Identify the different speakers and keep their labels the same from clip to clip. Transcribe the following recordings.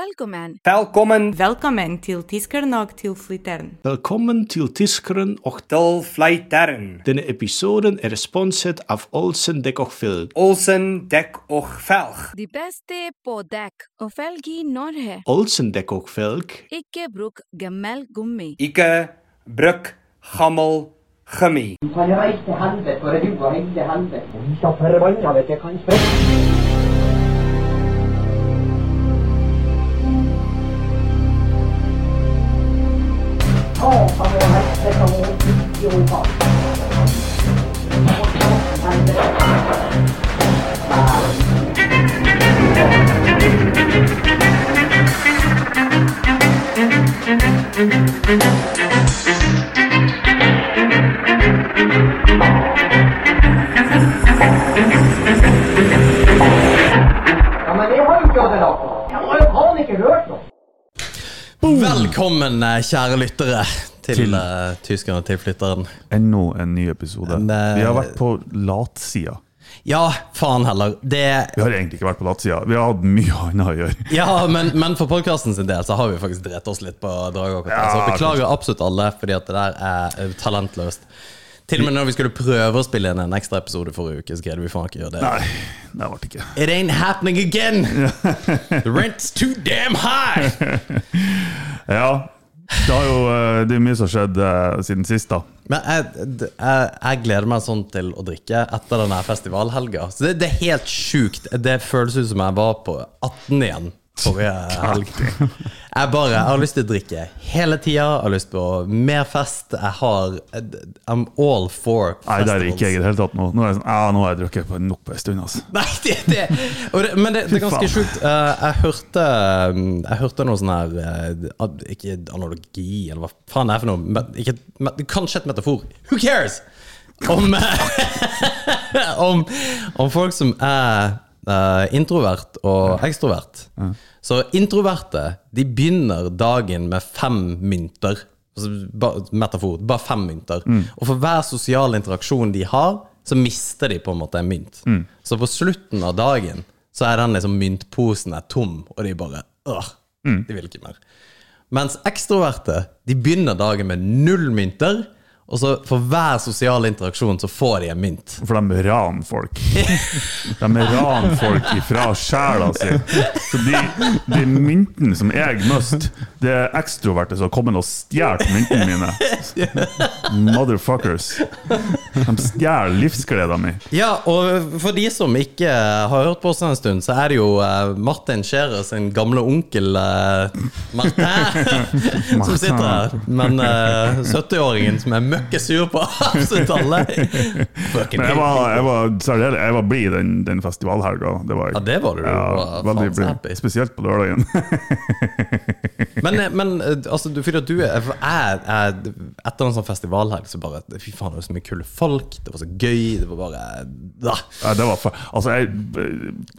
Speaker 1: Velkommen.
Speaker 2: Velkommen
Speaker 3: Velkommen til Tiskernok til Flittern.
Speaker 4: Velkommen til Tiskeren och
Speaker 2: til Flytern.
Speaker 4: denna episoden är sponsrad av Olsen Däck och Felg.
Speaker 2: Olsen dek och velg.
Speaker 1: De beste på dekk og felg i Norge.
Speaker 4: Olsen Däck och Felg
Speaker 1: Ikke bruk gammel gummi.
Speaker 2: Ike, bruk, gammel, gummi.
Speaker 5: kan reise til helvete, for du har reist til helvete. Vi skal forbanna vet jeg, kanskje. Ja, men jeg har jo ikke hatt det nok. Jeg har jo faen ikke hørt noe.
Speaker 6: Velkommen, eh, kjære lyttere, til,
Speaker 7: Til-
Speaker 6: eh, Tyskerne til flytteren.
Speaker 7: Ennå en ny episode.
Speaker 6: Men-
Speaker 7: Vi har vært på latsida.
Speaker 6: Ja, faen heller. Det
Speaker 7: Vi har egentlig ikke vært på latsida. Vi har hatt mye annet å gjøre.
Speaker 6: Ja, men, men for podkasten sin del så har vi faktisk drept oss litt på Dragåk. så
Speaker 7: Ja,
Speaker 6: beklager absolutt alle, fordi at det der er eh, talentløst. Til og med når vi skulle prøve å spille inn en ekstra episode forrige uke, så greide vi faen ikke å gjøre det.
Speaker 7: Nei, det ble det ikke.
Speaker 6: It ain't happening again! The rent's too damn high!
Speaker 7: Ja, det, har jo, eh, det er mye som har skjedd eh, siden sist, da.
Speaker 6: Men jeg, d- jeg, jeg gleder meg sånn til å drikke etter denne festivalhelga. Så det, det er helt sjukt. Det føles ut som jeg var på 18 igjen forrige helg. Jeg bare, jeg har lyst til å drikke hele tida. Jeg har lyst på mer fest. Jeg har I'm all for festivals.
Speaker 7: Nei, det er ikke jeg i det hele tatt nå. Nå er jeg sånn, ja, nå har jeg drukket på nok på en stund, altså.
Speaker 6: Nei, det, det, og det, men det, det er ganske
Speaker 7: Fy faen.
Speaker 6: sjukt. Eh, jeg hørte um, Jeg hørte noe sånn her eh, ad, Ikke analogi, eller hva faen det er for noe. Men, ikke, men, kanskje et metafor. Who cares? Om, eh, om, om folk som er eh, introvert og ekstrovert. Så introverte de begynner dagen med fem mynter. Altså, ba, metafor. Bare fem mynter. Og for hver sosial interaksjon de har, så mister de på en måte en mynt. Så på slutten av dagen så er den liksom myntposen er tom, og de bare Åh, De vil ikke mer. Mens ekstroverte de begynner dagen med null mynter, og så for hver sosial interaksjon så får de en mynt.
Speaker 7: For de ran folk. De ran folk ifra sjela si. Så de, de myntene som jeg must, det er ekstroverte som kommer og stjal myntene mine. Motherfuckers. De stjal livsgleden min.
Speaker 6: Ja, og for de som ikke har hørt på oss en stund, så er det jo eh, Martin Scherer sin gamle onkel eh, Martin som sitter her. Men eh, 70-åringen som er møkke sur på absolutt alle. Fucking
Speaker 7: Men jeg
Speaker 6: hell.
Speaker 7: var, jeg var, særlig- jeg var blid den, den festivalhelga. Det var jeg.
Speaker 6: Ja, det var du. Du
Speaker 7: Ja,
Speaker 6: var faen
Speaker 7: veldig
Speaker 6: så happy.
Speaker 7: blid. Spesielt på lørdagen.
Speaker 6: Men, eh, men eh, altså, du, fordi at du er, for jeg, jeg, Etter en sånn festivalhelg så bare Fy faen, det var så mye kule folk. Det var så gøy. Det var bare da.
Speaker 7: Ja, det var fa altså, jeg,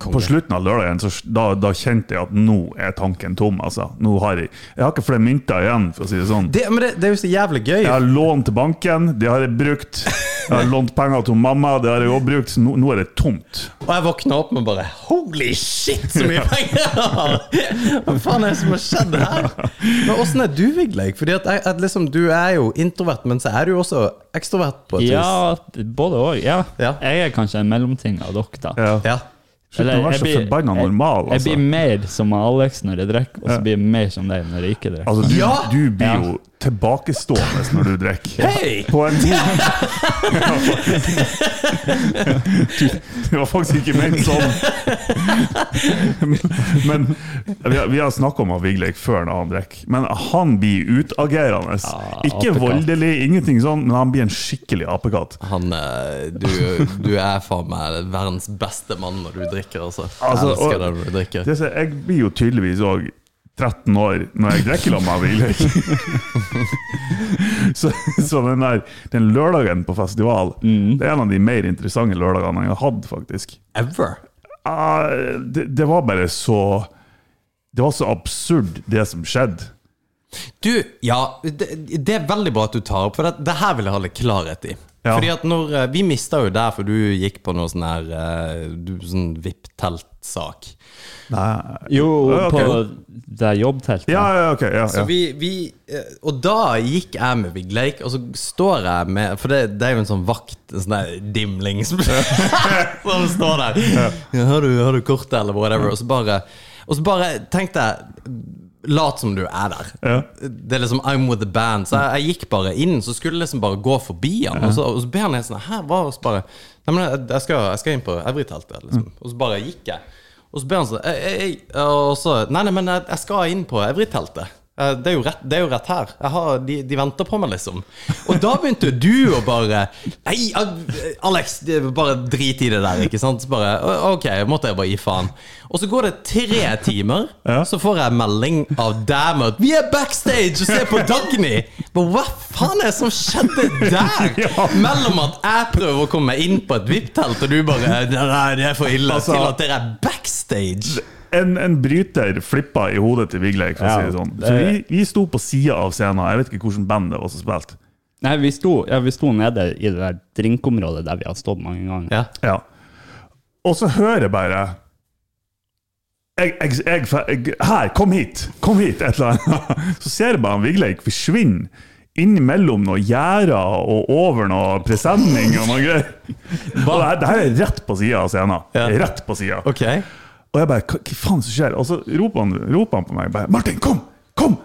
Speaker 7: på slutten av lørdagen så, da, da kjente jeg at nå er tanken tom. Altså. Nå har jeg, jeg har ikke flere mynter igjen, for å si det sånn.
Speaker 6: Det, men det, det er jo så jævlig gøy.
Speaker 7: Jeg har lånt til banken, det har jeg brukt. Jeg har lånt penger til mamma, det har jeg også brukt. Nå, nå er det tomt.
Speaker 6: Og jeg våkna opp med bare Holy shit, så mye penger jeg har! Hva faen er det som har skjedd her? Men åssen er du, Vigleik? Fordi at, jeg- at liksom, du er jo introvert, men så er du jo også ekstrovert på et vis.
Speaker 8: Ja, både òg. Ja.
Speaker 6: Ja.
Speaker 8: Jeg er kanskje en mellomting av dere, da.
Speaker 6: Ja.
Speaker 7: Slutt å være så forbanna normal,
Speaker 8: jeg, jeg
Speaker 7: altså.
Speaker 8: blir mer som Alex når jeg drikker, og så blir jeg mer som deg når jeg ikke drikker.
Speaker 7: Altså, du,
Speaker 6: Ja!
Speaker 7: du blir jo tilbakestående når du drikker.
Speaker 6: Hei!
Speaker 7: På en god Ja, faktisk. Du- Det var faktisk ikke ment sånn. Men vi har, vi har snakka om han Vigleik før når han drikker. Men han blir utagerende.
Speaker 8: Ja,
Speaker 7: Ikke
Speaker 8: apekatt.
Speaker 7: voldelig, ingenting sånn, men han blir en skikkelig apekatt.
Speaker 6: Han, eh, du, du er faen meg verdens beste mann når du drikker, altså. Jeg
Speaker 7: Altså,
Speaker 6: elsker
Speaker 7: og-
Speaker 6: deg når du drikker.
Speaker 7: Det ser, jeg blir jo tydeligvis òg 13 år når jeg drikker sammen med Vigleik. så, så den der Den lørdagen på festival,
Speaker 8: Mm.
Speaker 7: det er en av de mer interessante lørdagene jeg har hatt, faktisk.
Speaker 6: Ever.
Speaker 7: Ah, det, det var bare så Det var så absurd, det som skjedde.
Speaker 6: Du, ja, det, det er veldig bra at du tar opp, for det, det her vil jeg ha litt klarhet i.
Speaker 7: Ja.
Speaker 6: Fordi at når eh, Vi mista jo der, for du gikk på noe sånn her eh, du, sånn VIP-telt-sak.
Speaker 7: Nei.
Speaker 8: Jo,
Speaker 7: Ja, ok.
Speaker 8: på det jobbteltet.
Speaker 7: Ja, ja, ok. Ja,
Speaker 6: Så
Speaker 7: ja.
Speaker 6: vi, vi eh, Og da gikk jeg med Big Lake, og så står jeg med For det, det er jo en sånn vakt, en sånn der dimling som, som står der. Ja, 'Har du, har du kortet', eller whatever. Og så bare, og så bare tenkte jeg Lat som du er der. Det er liksom I'm with the band. Så jeg, jeg gikk bare inn, så skulle jeg liksom bare gå forbi han, og, så, og så ber han helt sånn Hæ, hva? Og så bare Nei, men jeg, jeg, skal, jeg skal inn på Everyteltet, liksom.
Speaker 7: Mm.
Speaker 6: Og så bare gikk jeg. Og så ber han sånn «Ei, ei, ei», Og så Nei, nei, men jeg, jeg skal inn på Evry-teltet. Eh, Det er, jo rett, det er jo rett her. Jeg har, de, de venter på meg, liksom. Og da begynte jo du å bare Nei, Al- Alex, det- bare drit i det der, ikke sant? Så bare «Å, OK, måtte jeg bare gi faen. Og så går det tre timer, så får jeg melding av dem at Vi er backstage og ser på Dagny! Men hva faen er det som skjedde der?
Speaker 7: Ja.
Speaker 6: Mellom at jeg prøver å komme meg inn på et VIP-telt, og du bare Nei, nei, det er for ille.
Speaker 7: Altså-
Speaker 6: til at dere er backstage!
Speaker 7: En, en bryter flippa i hodet til Vigleik, for å si det sånn. Så vi, vi sto på sida av scenen. Jeg vet ikke hvilket band det var som spilte.
Speaker 8: Nei, vi sto, ja, vi sto nede i det der drinkområdet der vi har stått mange ganger.
Speaker 6: Ja.
Speaker 7: Ja. Og så hører jeg bare jeg, jeg, jeg, jeg, Her, kom hit! Kom hit! Et eller annet. Så ser jeg bare han Vigleik forsvinne innimellom noen gjerder og over noe presenning og noe greier. Og det her, det her er rett på sida av scenen.
Speaker 6: Ja.
Speaker 7: Rett på sida.
Speaker 6: Ok.
Speaker 7: Og jeg bare, hva hva faen som skjer? Og så roper han, roper han på meg, bare, Martin, kom, kom!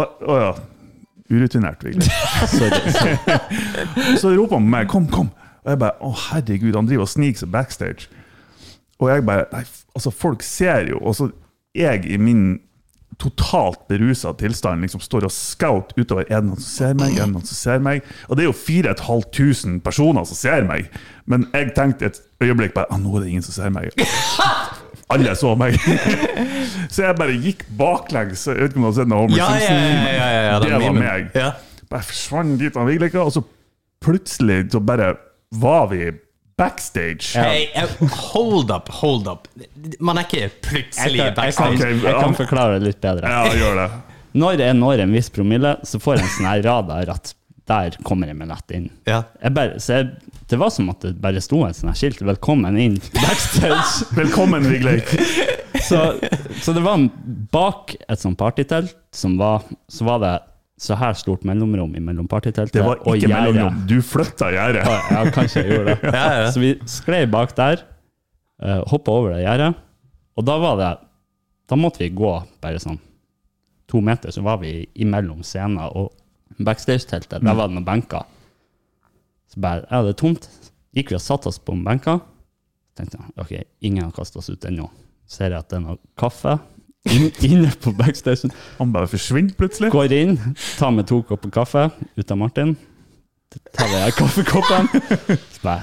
Speaker 7: Og, og ja, urutinert, virkelig. så roper han på meg, kom, kom! Og jeg bare, å herregud, han driver og sniker seg backstage. Og jeg bare, nei, f- altså folk ser jo, og så jeg i min totalt beruset tilstand liksom står og scout utover, er det noen som ser meg, er det noen som ser meg? Og det er jo 4.500 personer som ser meg, men jeg tenkte et øyeblikk bare, ah, nå er det ingen som ser meg. Alle så meg. så jeg bare gikk baklengs. Jeg vet ikke om du har sett noe Homer
Speaker 6: Ja, ja,
Speaker 7: Simpson?
Speaker 6: ja, ja, ja, ja, den
Speaker 7: det var
Speaker 6: memen.
Speaker 7: meg.
Speaker 6: Ja.
Speaker 7: Bare forsvant dit han ville ikke, og så plutselig så bare var vi backstage.
Speaker 6: Hey, eh, hold up, hold up. Man er ikke
Speaker 8: Jeg
Speaker 6: plutselig
Speaker 8: kan, jeg,
Speaker 6: backstage.
Speaker 8: kan,
Speaker 7: Ok,
Speaker 8: jeg
Speaker 7: han-
Speaker 8: kan forklare det litt bedre.
Speaker 7: Ja, gjør det.
Speaker 8: Når jeg når en viss promille, så får jeg en sånn her radar at der kommer jeg meg lett inn.
Speaker 6: Ja.
Speaker 8: Jeg bare, så jeg, det var som at det bare sto en sånn her skilt 'Velkommen inn backstage'.
Speaker 7: Velkommen, Vigleik.
Speaker 8: Så, så det var en, bak et sånt partytelt som var, så var det så her stort mellomrom i mellom partyteltet
Speaker 7: Det var
Speaker 8: og
Speaker 7: ikke
Speaker 8: gjerdet.
Speaker 7: mellomrom. Du flytta gjerdet.
Speaker 8: Ja, ja, kanskje jeg gjorde det.
Speaker 6: ja.
Speaker 8: Så vi sklei bak der, uh, hoppa over det gjerdet, og da var det Da måtte vi gå bare sånn to meter, så var vi imellom scenen og backstage-teltet.
Speaker 6: Mm.
Speaker 8: Der var det noen benker. Så bare Ja, det er tomt. Gikk vi og satte oss på en benker. Tenkte jeg, ok, ingen har kasta oss ut ennå. Ser jeg at det er noe kaffe inn, inne på backstage.
Speaker 7: Han bare forsvinner plutselig.
Speaker 8: Går inn, tar med to kopper kaffe ut av Martin. Tar med jeg kaffekoppen. Så bare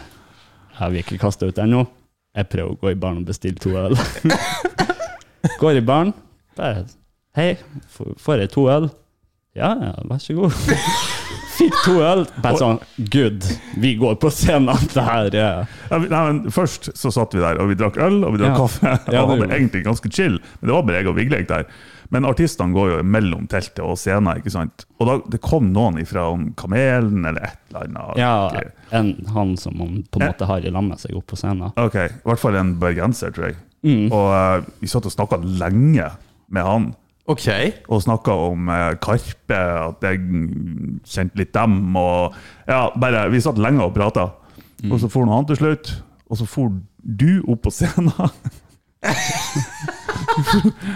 Speaker 8: Jeg vil ikke kaste ut ennå. Jeg prøver å gå i baren og bestille to øl. Går i baren. Bare Hei, f- får jeg to øl? Ja, ja, vær så god. Fikk to øl. Bare sånn Good, vi går på scenen. Det her er
Speaker 7: Ja, vi- Nei, men Først så satt vi der, og vi drakk øl og vi drakk
Speaker 8: Ja.
Speaker 7: kaffe.
Speaker 8: Ja,
Speaker 7: og
Speaker 8: det
Speaker 7: hadde
Speaker 8: gjorde vi.
Speaker 7: egentlig ganske chill, men det var bare jeg og Vigleik der. Men artistene går jo mellom teltet og scenen, ikke sant? Og da, det kom noen ifra om Kamelen eller et eller annet.
Speaker 8: ja,
Speaker 7: Ok.
Speaker 8: en, han som han på en måte har i lag med seg opp på scenen.
Speaker 7: Ok, i hvert fall en bergenser, tror jeg.
Speaker 6: Mm.
Speaker 7: Og eh, vi satt og snakka lenge med han.
Speaker 6: Ok.
Speaker 7: Og snakka om eh, Karpe, at jeg kjente litt dem, og Ja, bare Vi satt lenge og prata.
Speaker 6: Mm.
Speaker 7: Og så for nå han til slutt, og så for du opp på scenen.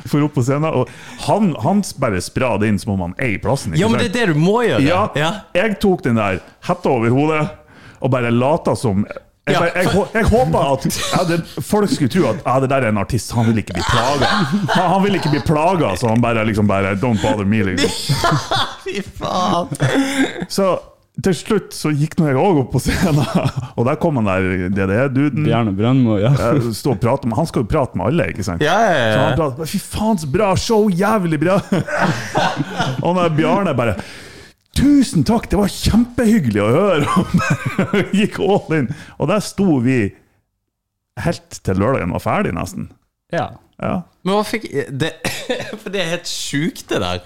Speaker 7: for opp på scenen, og han, han bare sprad inn som om han er i plassen. ikke
Speaker 6: Ja, men det
Speaker 7: sant?
Speaker 6: er det du må gjøre.
Speaker 7: Ja, jeg tok den der hetta over hodet og bare lata som jeg,
Speaker 6: Ja,
Speaker 7: bare, jeg, hå- jeg håpa at jeg hadde, folk skulle tro at ja, det der er en artist, han vil ikke bli plaga. Han, han vil ikke bli plaga, så han bare liksom bare Don't bother me, liksom.
Speaker 6: Fy faen.
Speaker 7: Så til slutt så gikk nå jeg òg opp på scenen, og der kom han der DDE-duden.
Speaker 8: Bjarne Brøndmo, ja.
Speaker 7: Stå og prate med, Han skal jo prate med alle, ikke sant?
Speaker 6: Ja, ja, ja.
Speaker 7: Så han prater bare, Fy faen, så bra show! Jævlig bra! og han der Bjarne bare Tusen takk, det var kjempehyggelig å høre! Og bare gikk all in. Og der sto vi helt til lørdagen var ferdig, nesten.
Speaker 8: ja.
Speaker 7: Ja.
Speaker 6: Men hva fikk det, For det er helt sjukt, det der.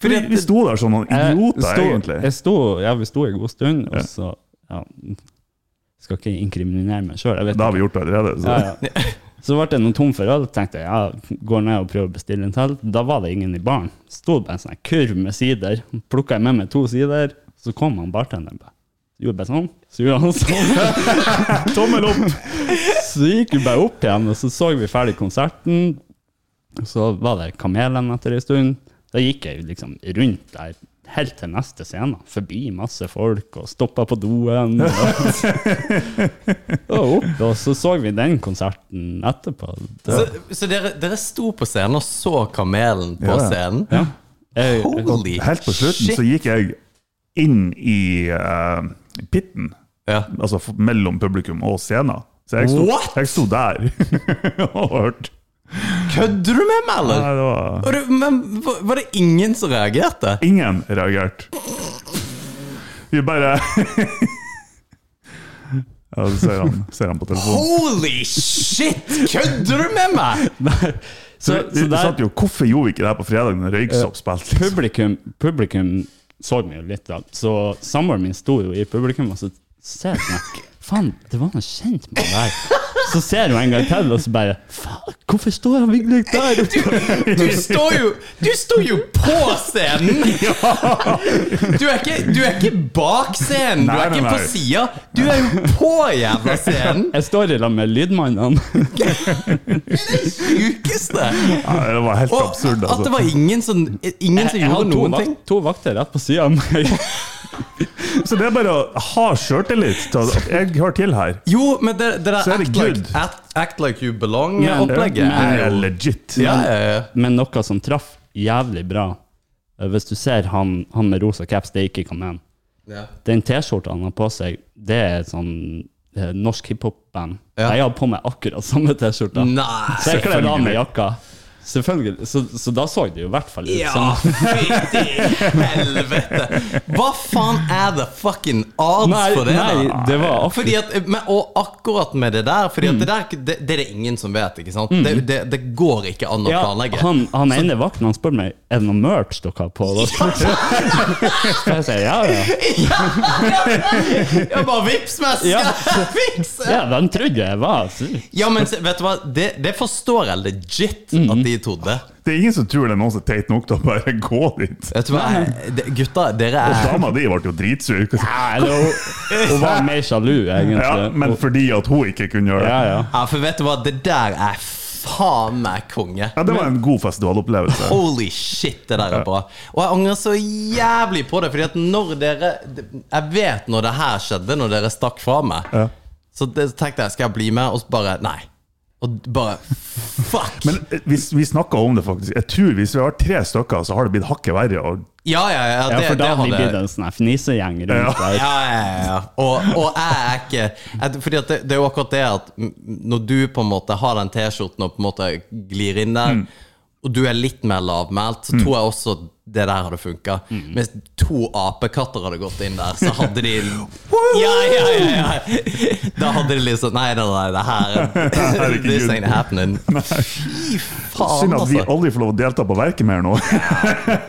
Speaker 6: Fordi
Speaker 7: Vi,
Speaker 6: at-
Speaker 7: vi sto der som noen
Speaker 8: Jeg
Speaker 7: idioter,
Speaker 8: sto-
Speaker 7: egentlig.
Speaker 8: Jeg sto, ja, vi sto en god stund, og så ja, Skal ikke inkriminere meg sjøl.
Speaker 7: Det har vi gjort allerede. Så.
Speaker 8: Ja, ja. Så ble jeg noe tom for øl, tenkte jeg ja, går ned og prøver å bestille en til. Da var det ingen i baren. Sto det bare en sånn her kurv med sider. Plukka jeg med meg to sider, så kom han bartenderen. bare. Gjorde bare sånn, så gjorde han sånn. Tommel opp! Så gikk vi bare opp igjen, og så så vi ferdig konserten. Så var det Kamelen etter ei stund. Da gikk jeg jo liksom rundt der helt til neste scene. Forbi masse folk, og stoppa på doen. Og og opp, og så så vi den konserten etterpå.
Speaker 6: Så,
Speaker 8: Det,
Speaker 6: så dere, dere sto på scenen og så Kamelen på
Speaker 7: Ja, ja.
Speaker 6: scenen?
Speaker 8: jeg,
Speaker 6: Holy
Speaker 7: Helt på slutten
Speaker 6: shit!
Speaker 7: så gikk jeg inn i eh, pitten,
Speaker 6: Ja.
Speaker 7: altså f- mellom publikum og scenen. Så jeg sto,
Speaker 6: What?
Speaker 7: jeg sto der og hørte.
Speaker 6: Kødder du med meg, eller?
Speaker 7: Nei, det var
Speaker 6: Var det, men var- var det ingen som reagerte?
Speaker 7: Ingen reagerte. Vi bare Ja, så ser han, ser han på telefonen.
Speaker 6: Holy shit! Kødder du med meg?!
Speaker 8: så,
Speaker 7: Vi
Speaker 8: så
Speaker 7: vi satt
Speaker 8: der,
Speaker 7: jo, Hvorfor gjorde vi ikke det her på fredag når Røyksopp spilte? liksom?
Speaker 8: publikum, publikum så meg jo litt, da. Så samboeren min sto jo i publikum, og så ser jeg meg Faen, det var noe kjent med det der. Så ser hun en gang til, og så bare Faen, hvorfor står han Vigdis der oppe?
Speaker 6: Du står jo, du står jo på scenen! Du er ikke, du er ikke bak scenen, du
Speaker 7: Nei,
Speaker 6: er
Speaker 7: nei,
Speaker 6: ikke på
Speaker 7: nei.
Speaker 6: sida. Du er jo på jævla scenen!
Speaker 8: Jeg står i lag med lydmannene.
Speaker 6: Sjukeste!
Speaker 7: Nei, det var helt
Speaker 6: Og
Speaker 7: absurd.
Speaker 6: at det
Speaker 7: Altså.
Speaker 6: var ingen som, ingen som
Speaker 8: Jeg
Speaker 6: gjorde
Speaker 8: hadde to,
Speaker 6: noen ting.
Speaker 8: vak to vakter rett på sida av meg.
Speaker 7: Så det er bare å ha sjøltillit til at jeg hører til her.
Speaker 6: Jo, men det, det der
Speaker 7: Så er det
Speaker 6: act like,
Speaker 7: good.
Speaker 6: act, act like you
Speaker 8: Men-
Speaker 6: belong-opplegget
Speaker 8: men-
Speaker 7: Det
Speaker 6: er
Speaker 7: er
Speaker 6: jo
Speaker 7: legit.
Speaker 6: ja, ja, ja.
Speaker 8: Men noe som traff jævlig bra Eh, Hvis du ser han, han med rosa caps, det er ikke Kamen.
Speaker 6: Ja.
Speaker 8: Den T-skjorta han har på seg, det er et sånn eh, norsk hiphop-band.
Speaker 6: Ja.
Speaker 8: Jeg har på meg akkurat samme T-skjorta. Så
Speaker 6: Nei!
Speaker 8: jeg kledde av meg jakka. Selvfølgelig. Så, så da så det jo i hvert fall ut
Speaker 6: Ja,
Speaker 8: som
Speaker 6: fytti helvete! Hva faen er the fucking odds
Speaker 8: Nei,
Speaker 6: for det? da?
Speaker 8: nei, det var akkurat- Mm.
Speaker 6: fordi at, men, Og akkurat med det der, Fordi at det der det, det er det ingen som vet, ikke sant? Det, det, det går ikke an å
Speaker 8: ja,
Speaker 6: planlegge.
Speaker 8: han, han ene vakten han spør meg Er det noe merch dere har på. Da Så jeg sier ja, ja.
Speaker 6: Ja, bare vips meg, skal
Speaker 8: Ja.
Speaker 6: jeg fikse!
Speaker 8: ja den trodde jeg var så-
Speaker 6: Ja, men se- vet du hva, det, det forstår jeg legit
Speaker 8: Mm.
Speaker 6: at de trodde.
Speaker 7: Det er ingen som tror det er noen som er teit nok til å bare gå dit.
Speaker 6: Vet du hva, jeg- det- gutta, dere
Speaker 7: Og
Speaker 6: er
Speaker 7: dama di ble jo dritsur.
Speaker 8: Nei, det var, Hun var mer sjalu, egentlig.
Speaker 7: Ja, men fordi at hun ikke kunne gjøre det.
Speaker 8: ja, ja.
Speaker 6: Ja, for vet du hva, det der er faen meg konge.
Speaker 7: Ja, Det var en god festivalopplevelse.
Speaker 6: Holy shit, det der er bra. Og jeg angrer så jævlig på det, fordi at når dere Jeg vet når det her skjedde, når dere stakk fra meg.
Speaker 7: Ja.
Speaker 6: Så det, tenkte jeg, skal jeg bli med? Og så bare Nei. Og bare Fuck!
Speaker 7: Men eh, vi, vi snakka om det, faktisk. Jeg tror Hvis vi har vært tre stykker, så har det blitt hakket verre. Og
Speaker 6: ja, ja, ja. Det,
Speaker 8: Ja, for
Speaker 6: det
Speaker 8: da har vi
Speaker 6: hadde-
Speaker 8: blitt en sånn her fnisegjeng rundt
Speaker 7: Ja.
Speaker 8: der.
Speaker 6: Ja, ja, ja, ja. Og, og jeg er ikke jeg- Fordi at det, det er jo akkurat det at m- når du på en måte har den T-skjorten og på en måte glir inn
Speaker 7: Mm.
Speaker 6: der, og du er litt mer lavmælt, så tror jeg også det der hadde funka.
Speaker 7: Mm.
Speaker 6: Hvis to apekatter hadde gått inn der, så hadde de Ja, ja, ja! ja. Da hadde de liksom Nei, nei, nei, det her
Speaker 7: Herregud.
Speaker 6: This ain't happening. Fy faen,
Speaker 7: Synd at vi
Speaker 6: altså.
Speaker 7: aldri får lov å delta på verket mer nå.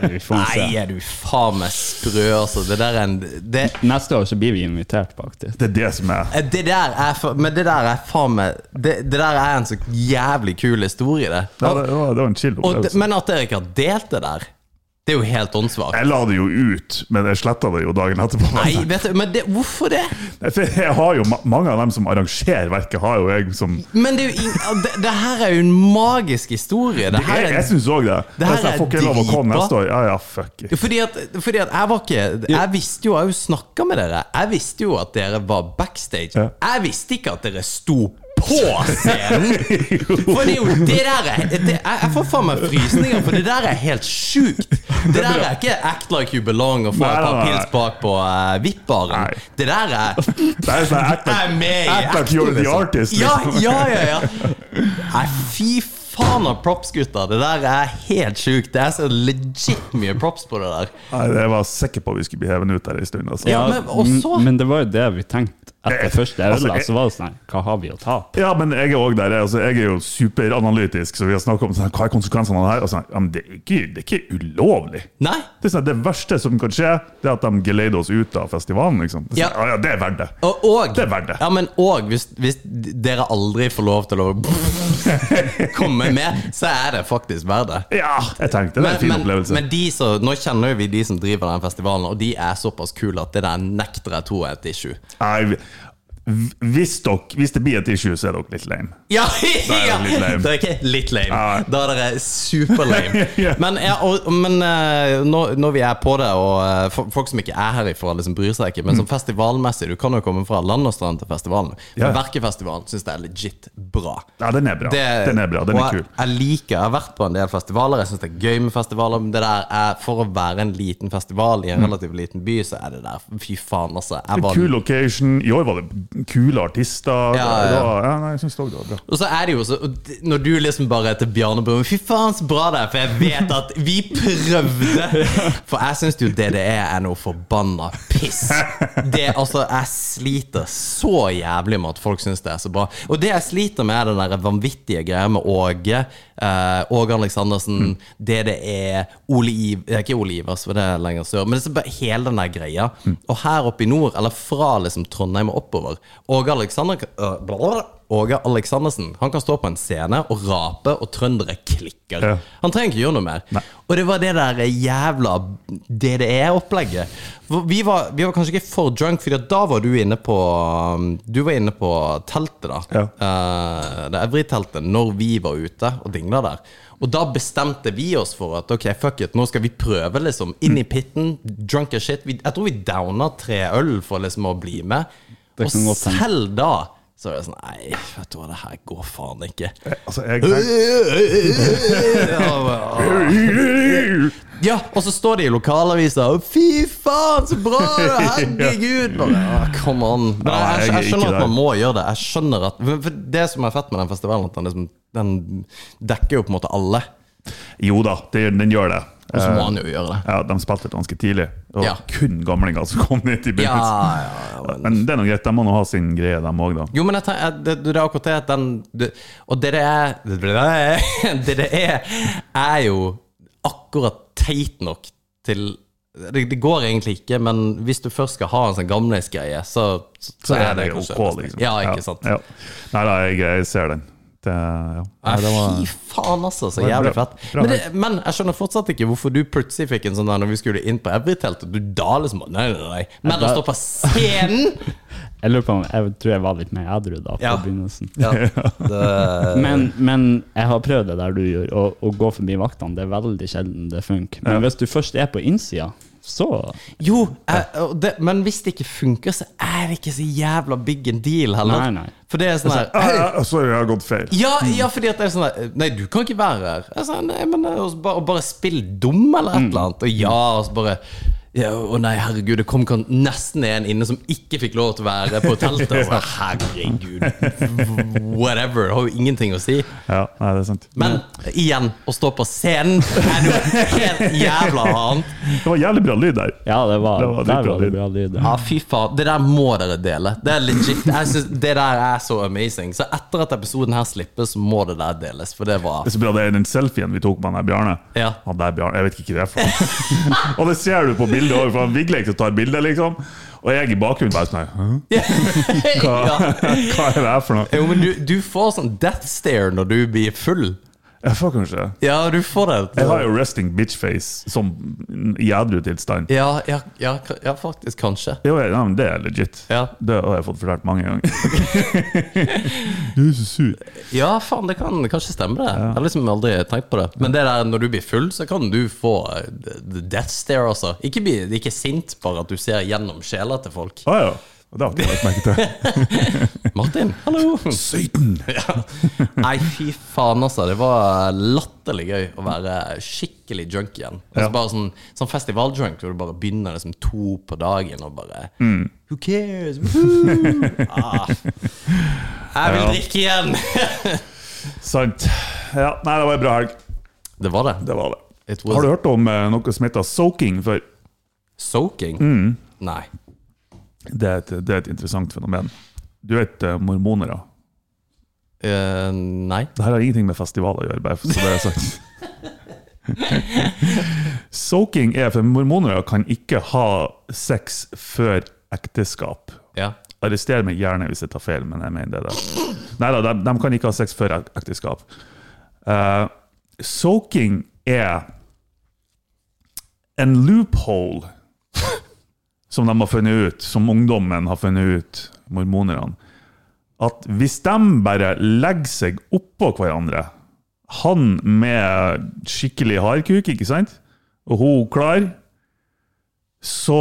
Speaker 8: Vi får se.
Speaker 6: Nei, er du faen meg sprø, altså. Det der er en det,
Speaker 8: Neste år så blir vi invitert, faktisk.
Speaker 7: Det er det som er
Speaker 6: Eh, Det der er fa- Men det der er faen meg det, det der er en så jævlig kul historie, det.
Speaker 7: Det var, det var, det var en
Speaker 6: Og,
Speaker 7: chill
Speaker 6: det-
Speaker 7: opplevelse.
Speaker 6: men at dere ikke har delt det der, det er jo helt åndssvakt.
Speaker 7: Jeg la det jo ut, men jeg sletta det jo dagen etterpå.
Speaker 6: Nei, vet du, men det, hvorfor det?
Speaker 7: For jeg har jo ma- Mange av dem som arrangerer verket, har jo jeg som
Speaker 6: Men det, er jo ing- det, det her er jo en magisk historie. Det her
Speaker 7: Jeg, jeg
Speaker 6: er,
Speaker 7: syns òg det.
Speaker 6: Det her
Speaker 7: Hvis jeg
Speaker 6: er
Speaker 7: får ikke lov å komme
Speaker 6: dritbra.
Speaker 7: neste år, ja ja, fuck it.
Speaker 6: fordi, at, fordi at jeg var ikke Jeg visste jo, jeg har jo snakka med dere. Jeg visste jo at dere var backstage.
Speaker 7: Ja.
Speaker 6: Jeg visste ikke at dere sto på scenen! For det er jo det der er, det, jeg, jeg får faen meg frysninger, for det der er helt sjukt. Det der er ikke act like you belong og få
Speaker 7: Nei,
Speaker 6: et par
Speaker 7: nei, nei.
Speaker 6: pils bak på uh, VIP-baren.
Speaker 7: Nei.
Speaker 6: Det der er
Speaker 7: Det er sånn act
Speaker 6: Jeg er
Speaker 7: like,
Speaker 6: med i
Speaker 7: act like
Speaker 6: acten,
Speaker 7: you're the
Speaker 6: liksom.
Speaker 7: artist,
Speaker 6: Ja,
Speaker 7: liksom.
Speaker 6: ja, ja, ja. Nei, fy faen av props, gutter. Det der er helt sjukt. Det er så legit mye props på det der.
Speaker 7: Nei, jeg var sikker på at vi skulle bli hevet ut der en stund. Altså.
Speaker 6: Ja, men- og så-
Speaker 8: men, men det var jo det vi tenkte etter første
Speaker 7: Altså,
Speaker 8: øla,
Speaker 7: jeg-
Speaker 8: så var det sånn her, Hva har vi å tape?
Speaker 7: Ja, men jeg er også der. jeg. Altså, jeg er jo superanalytisk, så vi har snakket om sånn, hva er konsekvensene av det her. Og sånn, ja, men det er ikke, det er ikke ulovlig.
Speaker 6: Nei.
Speaker 7: Det, er sånn, det verste som kan skje, det er at de geleider oss ut av festivalen. Liksom. Det er
Speaker 6: Ja.
Speaker 7: Sånn, ja. ja, det er verdt det.
Speaker 6: Og, og,
Speaker 7: Det er verdt det.
Speaker 6: Ja, men og hvis, hvis dere aldri får lov til å komme med, så er det faktisk verdt det.
Speaker 7: Ja, jeg tenkte det er
Speaker 6: Men,
Speaker 7: en fin
Speaker 6: men,
Speaker 7: opplevelse.
Speaker 6: men de som, nå kjenner jo vi de som driver den festivalen, og de er såpass kule at det der nekter jeg tror er et issue.
Speaker 7: Nei, vi- hvis, dere, hvis det blir et issue, så er dere litt lame.
Speaker 6: Ja!
Speaker 7: er
Speaker 6: ja.
Speaker 7: det litt lame.
Speaker 6: Det er ikke litt lame.
Speaker 7: Ja.
Speaker 6: Da er dere superlame.
Speaker 7: Ja.
Speaker 6: Men, ja, og, men eh, når, når vi er på det, og eh, fo- folk som ikke er herifra, liksom bryr seg ikke, men
Speaker 7: Mm.
Speaker 6: som festivalmessig Du kan jo komme fra land og strand til festivalen.
Speaker 7: Ja.
Speaker 6: Men Verkefestivalen syns jeg er legit bra.
Speaker 7: Ja, den er bra.
Speaker 6: Det-
Speaker 7: den er bra, den
Speaker 6: og
Speaker 7: er
Speaker 6: jeg,
Speaker 7: kul.
Speaker 6: Jeg liker, jeg har vært på en del festivaler, jeg syns det er gøy med festivaler, men det der er for å være en liten festival i en relativt liten by, så er det der Fy faen, altså. Jeg var
Speaker 7: Mm. Kul location. I år var det kule artister.
Speaker 6: Ja, ja, ja.
Speaker 7: Det var, ja nei, jeg syns òg det var bra.
Speaker 6: Og så er det jo så og d- Når du liksom bare er til Bjarne Brumm Fy faen, så bra det er, for jeg vet at vi prøvde! For jeg syns jo DDE er noe forbanna piss. Det, altså, jeg sliter så jævlig med at folk syns det er så bra. Og det jeg sliter med, er den der vanvittige greia med Åge. eh, Åge Aleksandersen, DDE, Ole Iv... eh, Ikke Ole Ivers, for det er lenger sør. Men det er så bare hele den der greia. Og her oppe i nord, eller fra liksom Trondheim og oppover Åge Aleksander... øh, blablabla. Åge Aleksandersen han kan stå på en scene og rape, og trøndere klikker.
Speaker 7: Ja.
Speaker 6: Han trenger ikke gjøre noe mer. Og det var det der jævla DDE-opplegget. For Vi, var- vi var kanskje ikke for drunk, for da var du inne på um, Du var inne på teltet, da.
Speaker 7: Ja.
Speaker 6: Eh, det Evry-teltet, når vi var ute og dingla der. Og da bestemte vi oss for at ok, fuck it, nå skal vi prøve, liksom. Inn i pitten, drunk as shit. Vi, jeg tror vi downa tre øl for liksom å bli med.
Speaker 8: Det kan
Speaker 6: Og
Speaker 8: godt hende.
Speaker 6: selv da så er det sånn Nei, vet du hva, det her går faen ikke.
Speaker 7: Altså, jeg tenkte,
Speaker 6: Ja, og så står de i lokalavisa og Fy faen, så bra! det er, Herregud! Bare, ah, come on. Men
Speaker 7: Ja,
Speaker 6: jeg, jeg,
Speaker 7: jeg
Speaker 6: jeg
Speaker 7: er ikke
Speaker 6: skjønner at
Speaker 7: der.
Speaker 6: man må gjøre det. Jeg skjønner at for- for Det som er fett med den festivalen, at den, liksom, den dekker jo på en måte alle.
Speaker 7: Jo da, det, den gjør det.
Speaker 6: Og så
Speaker 7: Eh,
Speaker 6: må han jo gjøre det.
Speaker 7: Ja, De spilte ganske tidlig. Og
Speaker 6: Ja.
Speaker 7: kun gamlinger som kom ned
Speaker 6: Ja,
Speaker 7: til begynnelsen.
Speaker 6: ja, ja, men
Speaker 7: Men det er noe greit, de må nå ha sin greie, de òg, da.
Speaker 6: Jo, men jeg tenker, det, det er akkurat det at den det, Og det det er Det det er, det det er, er jo akkurat teit nok til det, det går egentlig ikke, men hvis du først skal ha en sånn gamlisgreie, så, så,
Speaker 7: Så er det
Speaker 6: kanskje
Speaker 7: OK,
Speaker 6: best.
Speaker 7: liksom.
Speaker 6: Ja, ikke sant?
Speaker 7: Ja. Nei da, jeg, jeg ser den. Det, ja.
Speaker 6: Nei,
Speaker 7: det
Speaker 6: Fy faen, altså. Så
Speaker 7: det var
Speaker 6: jævlig
Speaker 7: bra.
Speaker 6: fett.
Speaker 7: Bra
Speaker 6: Men, det, men jeg skjønner fortsatt ikke hvorfor du plutselig fikk en sånn der når vi skulle inn på Evry-teltet. Du da liksom Nei, nei, nei. Men å stå på scenen!
Speaker 8: Jeg lurer på om Jeg tror jeg var litt mer edru da, på
Speaker 6: Ja.
Speaker 8: begynnelsen.
Speaker 6: Ja, det,
Speaker 8: Men, men jeg har prøvd det der du gjør, å, å gå forbi vaktene. Det er veldig sjelden det funker. Men hvis du først er på innsida, så
Speaker 6: Jo, jeg, og det, men hvis det ikke funker, så er det ikke så jævla big en deal heller.
Speaker 8: Nei, nei. Altså,
Speaker 6: For det er sånn her
Speaker 7: Ah, ja, sorry, jeg har gått feil.
Speaker 6: ja, ja, fordi at det er sånn her Nei, du kan ikke være her. Jeg sa, nei, men eh, og så bare, og bare spill dum, eller
Speaker 8: Mm.
Speaker 6: et eller annet. Og ja, og så bare ja, Å nei, herregud, det kom kan- nesten en inne som ikke fikk lov til å være på teltet. Og så, herregud, whatever. Det har jo ingenting å si.
Speaker 7: Ja, nei, det er sant.
Speaker 6: Men igjen, å stå på scenen er noe helt jævla annet.
Speaker 7: Det var jævlig bra lyd der.
Speaker 8: Ja, det var,
Speaker 7: Det var
Speaker 8: der
Speaker 7: dritbra
Speaker 8: var det
Speaker 7: lyd.
Speaker 8: bra lyd.
Speaker 6: Ja, fy faen. Det der må dere dele. Det er legit. Jeg synes det der er så amazing. Så etter at episoden her slippes, så må det der deles. For det var
Speaker 7: Det er så bra, det er den selfien vi tok med han der Bjarne.
Speaker 6: Ja.
Speaker 7: Han der Bjarne, Jeg vet ikke hva det er for noe. Og det ser du på bildet òg, for han Vigleik som tar bildet, liksom. Og jeg i bakgrunnen bare sånn her, «Hæ?
Speaker 6: ja.
Speaker 7: Hva er det her for noe?
Speaker 6: Jo, men du, du får sånn death stare når du blir full.
Speaker 7: Jeg får kanskje
Speaker 6: Ja, du får det.
Speaker 7: Jeg har jo resting bitch-face som i edru tilstand.
Speaker 6: Ja, ja, ja, ja faktisk. Kanskje.
Speaker 7: Jo, ja, men det er legit.
Speaker 6: Ja.
Speaker 7: Det har jeg fått fortalt mange ganger. du er så sur.
Speaker 6: Ja, faen, det kan kanskje stemme, det. Jeg har liksom aldri tenkt på det. Men det der, når du blir full, så kan du få eh, the death stare, altså. Ikke bli ikke sint, bare at du ser gjennom sjela til folk.
Speaker 7: Å ja. Det har ikke jeg lagt merke til.
Speaker 6: Martin, hallo!
Speaker 7: Søyten!
Speaker 6: Nei, fy faen, altså. Det var latterlig gøy å være skikkelig drunk igjen. Altså
Speaker 7: Ja.
Speaker 6: bare sånn, sånn festivaldrunk hvor du bare begynner liksom to på dagen og bare Who cares? Woohoo! Ah. Jeg vil drikke igjen!
Speaker 7: Sant. Ja, nei, det var en bra helg.
Speaker 6: Det var det.
Speaker 7: Det var det.
Speaker 6: It was
Speaker 7: Har du hørt om eh, noe som heter soaking før?
Speaker 6: soaking? Nei.
Speaker 7: Det er et, det er et interessant fenomen. Du vet eh, mormonere.
Speaker 6: Eh, nei.
Speaker 7: Det her har ingenting med festival å gjøre, bare så det er sagt. Soaking er for mormonere kan ikke ha sex før ekteskap.
Speaker 6: Ja.
Speaker 7: Arrester meg gjerne hvis jeg tar feil, men jeg mener det. da. Neida, de, de kan ikke ha sex før ek- ekteskap. Eh, soaking er en loophole som de har funnet ut, som ungdommen har funnet ut, mormonerne. At hvis de bare legger seg oppå hverandre, han med skikkelig hardkuk, ikke sant, og hun klar, så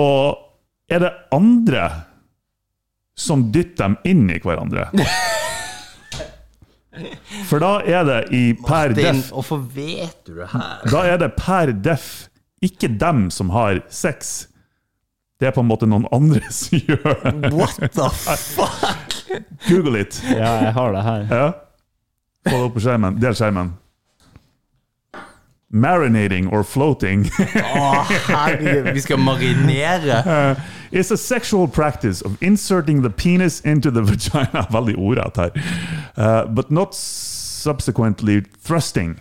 Speaker 7: er det andre som dytter dem inn i hverandre. For da er det i per def
Speaker 6: Hvorfor vet du det her?
Speaker 7: Da er det per def ikke dem som har sex. Det er på en måte noen andre som gjør det.
Speaker 6: What the fuck?
Speaker 7: Google it.
Speaker 8: Ja, jeg har det her.
Speaker 7: Ja. Få det opp på skjermen. Del skjermen. Marinating or floating
Speaker 6: Herregud, vi skal marinere.
Speaker 7: is a sexual practice of inserting the penis into the vagina. Veldig ordrett her. Uh, but not subsequently thrusting.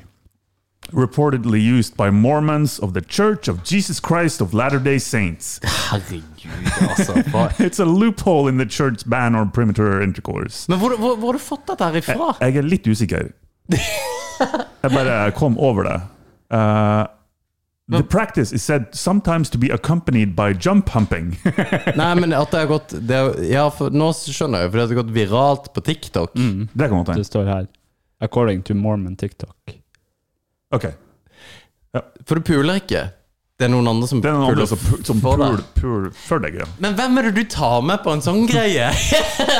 Speaker 7: Reportedly used by Mormons of the Church of Jesus Christ of Latter day Saints.
Speaker 6: Herregud, altså. hva-
Speaker 7: It's a loophole in the church ban on premature intercourse.
Speaker 6: Men hvor, hvor, hvor har du fått dette her ifra?
Speaker 7: Jeg er litt usikker. Jeg bare kom over det. Uh, the practice is said sometimes to be accompanied by jump humping.
Speaker 6: Nei, men at det har gått det har, Ja, for nå skjønner jeg, for det har gått viralt på TikTok.
Speaker 7: det kan man
Speaker 8: Det
Speaker 7: tenke.
Speaker 8: står her. According to Mormon TikTok.
Speaker 7: Ok.
Speaker 6: For du puler ikke. Det er noen andre som
Speaker 7: Det er noen
Speaker 6: puler
Speaker 7: andre som, pu- som
Speaker 6: for
Speaker 7: pul,
Speaker 6: deg.
Speaker 7: pul for deg, ja.
Speaker 6: Men hvem er det du tar med på en sånn greie?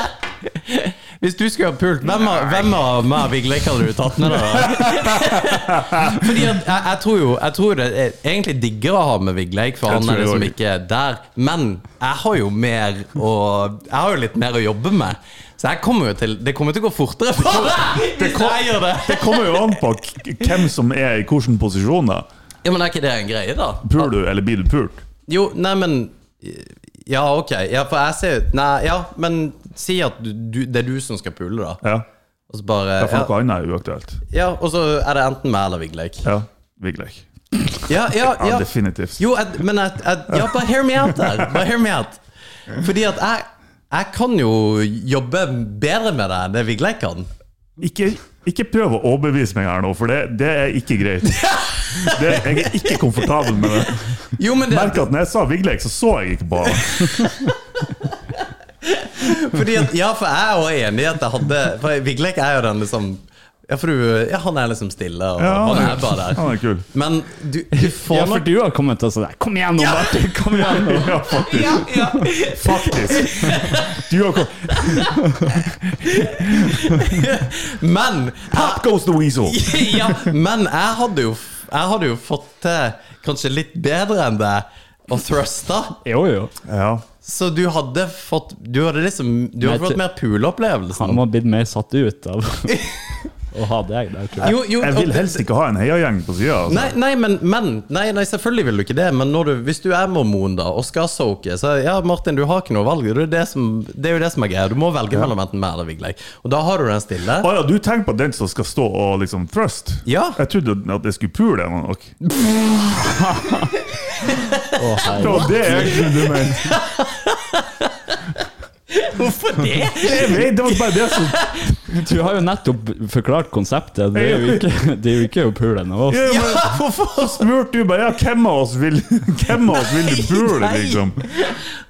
Speaker 6: Hvis du skulle ha pult, hvem av- hvem av meg Vigle hadde du tatt med deg? da? Fordi at jeg, jeg tror jo jeg tror det er egentlig diggere å ha med Vigleik, for
Speaker 7: Jeg
Speaker 6: han
Speaker 7: tror
Speaker 6: er
Speaker 7: det
Speaker 6: liksom
Speaker 7: også.
Speaker 6: ikke der. Men jeg har jo mer å Jeg har jo litt mer å jobbe med. Så jeg kommer jo til Det kommer til å gå fortere for deg hvis jeg gjør det!
Speaker 7: Det kommer jo an på k- hvem som er i hvilken posisjon. da.
Speaker 6: Ja, Men er ikke det en greie, da?
Speaker 7: Puler du, eller blir du pult?
Speaker 6: Jo, nei, men Ja, ok. Ja, for jeg ser ut Nei, ja, men si at du, du, det er du som skal pule, da.
Speaker 7: Ja.
Speaker 6: Og så bare
Speaker 7: For
Speaker 6: Ja,
Speaker 7: noe annet er uaktuelt.
Speaker 6: ja og så er det enten meg eller Vigleik.
Speaker 7: Ja. Vigleik.
Speaker 6: Ja, ja,
Speaker 7: Ja,
Speaker 6: ja.
Speaker 7: definitivt.
Speaker 6: Jo, jeg, men jeg, jeg Ja, bare hear me out der. Bare hear me out. Fordi at jeg jeg kan jo jobbe bedre med deg enn det Vigleik kan.
Speaker 7: Ikke, ikke prøv å overbevise meg her nå, for det, det er ikke greit. Det, jeg er ikke komfortabel med det.
Speaker 6: Jo, men det,
Speaker 7: Merk at når jeg sa Vigleik, så så jeg ikke på han.
Speaker 6: Fordi at, ja, for jeg er jo enig i at jeg hadde For Vigleik er jo den liksom Ja, for du, ja, han er liksom stille, og
Speaker 7: Ja,
Speaker 6: han
Speaker 7: han er-
Speaker 6: er bare der.
Speaker 7: han er kul.
Speaker 6: Men du, du får
Speaker 8: Ja, for
Speaker 6: nok
Speaker 8: du har kommet og sånn der, Kom igjen nå, Martin! Kom igjen nå!
Speaker 7: Ja, faktisk. Faktisk. Du har kom-
Speaker 6: Men
Speaker 7: Pop goes the weasel!
Speaker 6: ja, men jeg hadde jo Jeg hadde jo fått til kanskje litt bedre enn det å thruste.
Speaker 8: Jo, jo.
Speaker 7: Ja.
Speaker 6: Så du hadde fått Du hadde liksom Du hadde
Speaker 8: Nei,
Speaker 6: fått
Speaker 8: til-
Speaker 6: mer
Speaker 8: Han
Speaker 6: puleopplevelsen.
Speaker 8: må ha blitt mer satt ut av å ha deg der, tror jeg.
Speaker 6: Jo, jo,
Speaker 7: Jeg
Speaker 6: og
Speaker 7: vil
Speaker 6: det-
Speaker 7: helst ikke ha en heiagjeng på sida. Altså.
Speaker 6: Nei, nei, men, men nei, nei, selvfølgelig vil du ikke det. Men når du, hvis du er mormon da og skal soake, så ja, Martin, du har ikke noe valg. Det er, det som, det er jo det som er greia. Du må velge mellom enten meg eller Vigleik. Og da har du den stille.
Speaker 7: Å ja, du tenker på den som skal stå og liksom thrust?
Speaker 6: Ja.
Speaker 7: Jeg trodde at jeg skulle pule noen nok. Det var det jeg trodde du mente.
Speaker 6: Hvorfor det?
Speaker 7: Jeg vet, Det var bare det som
Speaker 8: Du har jo nettopp forklart konseptet. Det er jo ikke, det er jo ikke å pule en av oss.
Speaker 7: Ja, men-
Speaker 6: Ja, hvorfor?
Speaker 7: spurte du bare ja, hvem av oss vil, hvem av oss vil du pule,
Speaker 6: nei.
Speaker 7: liksom?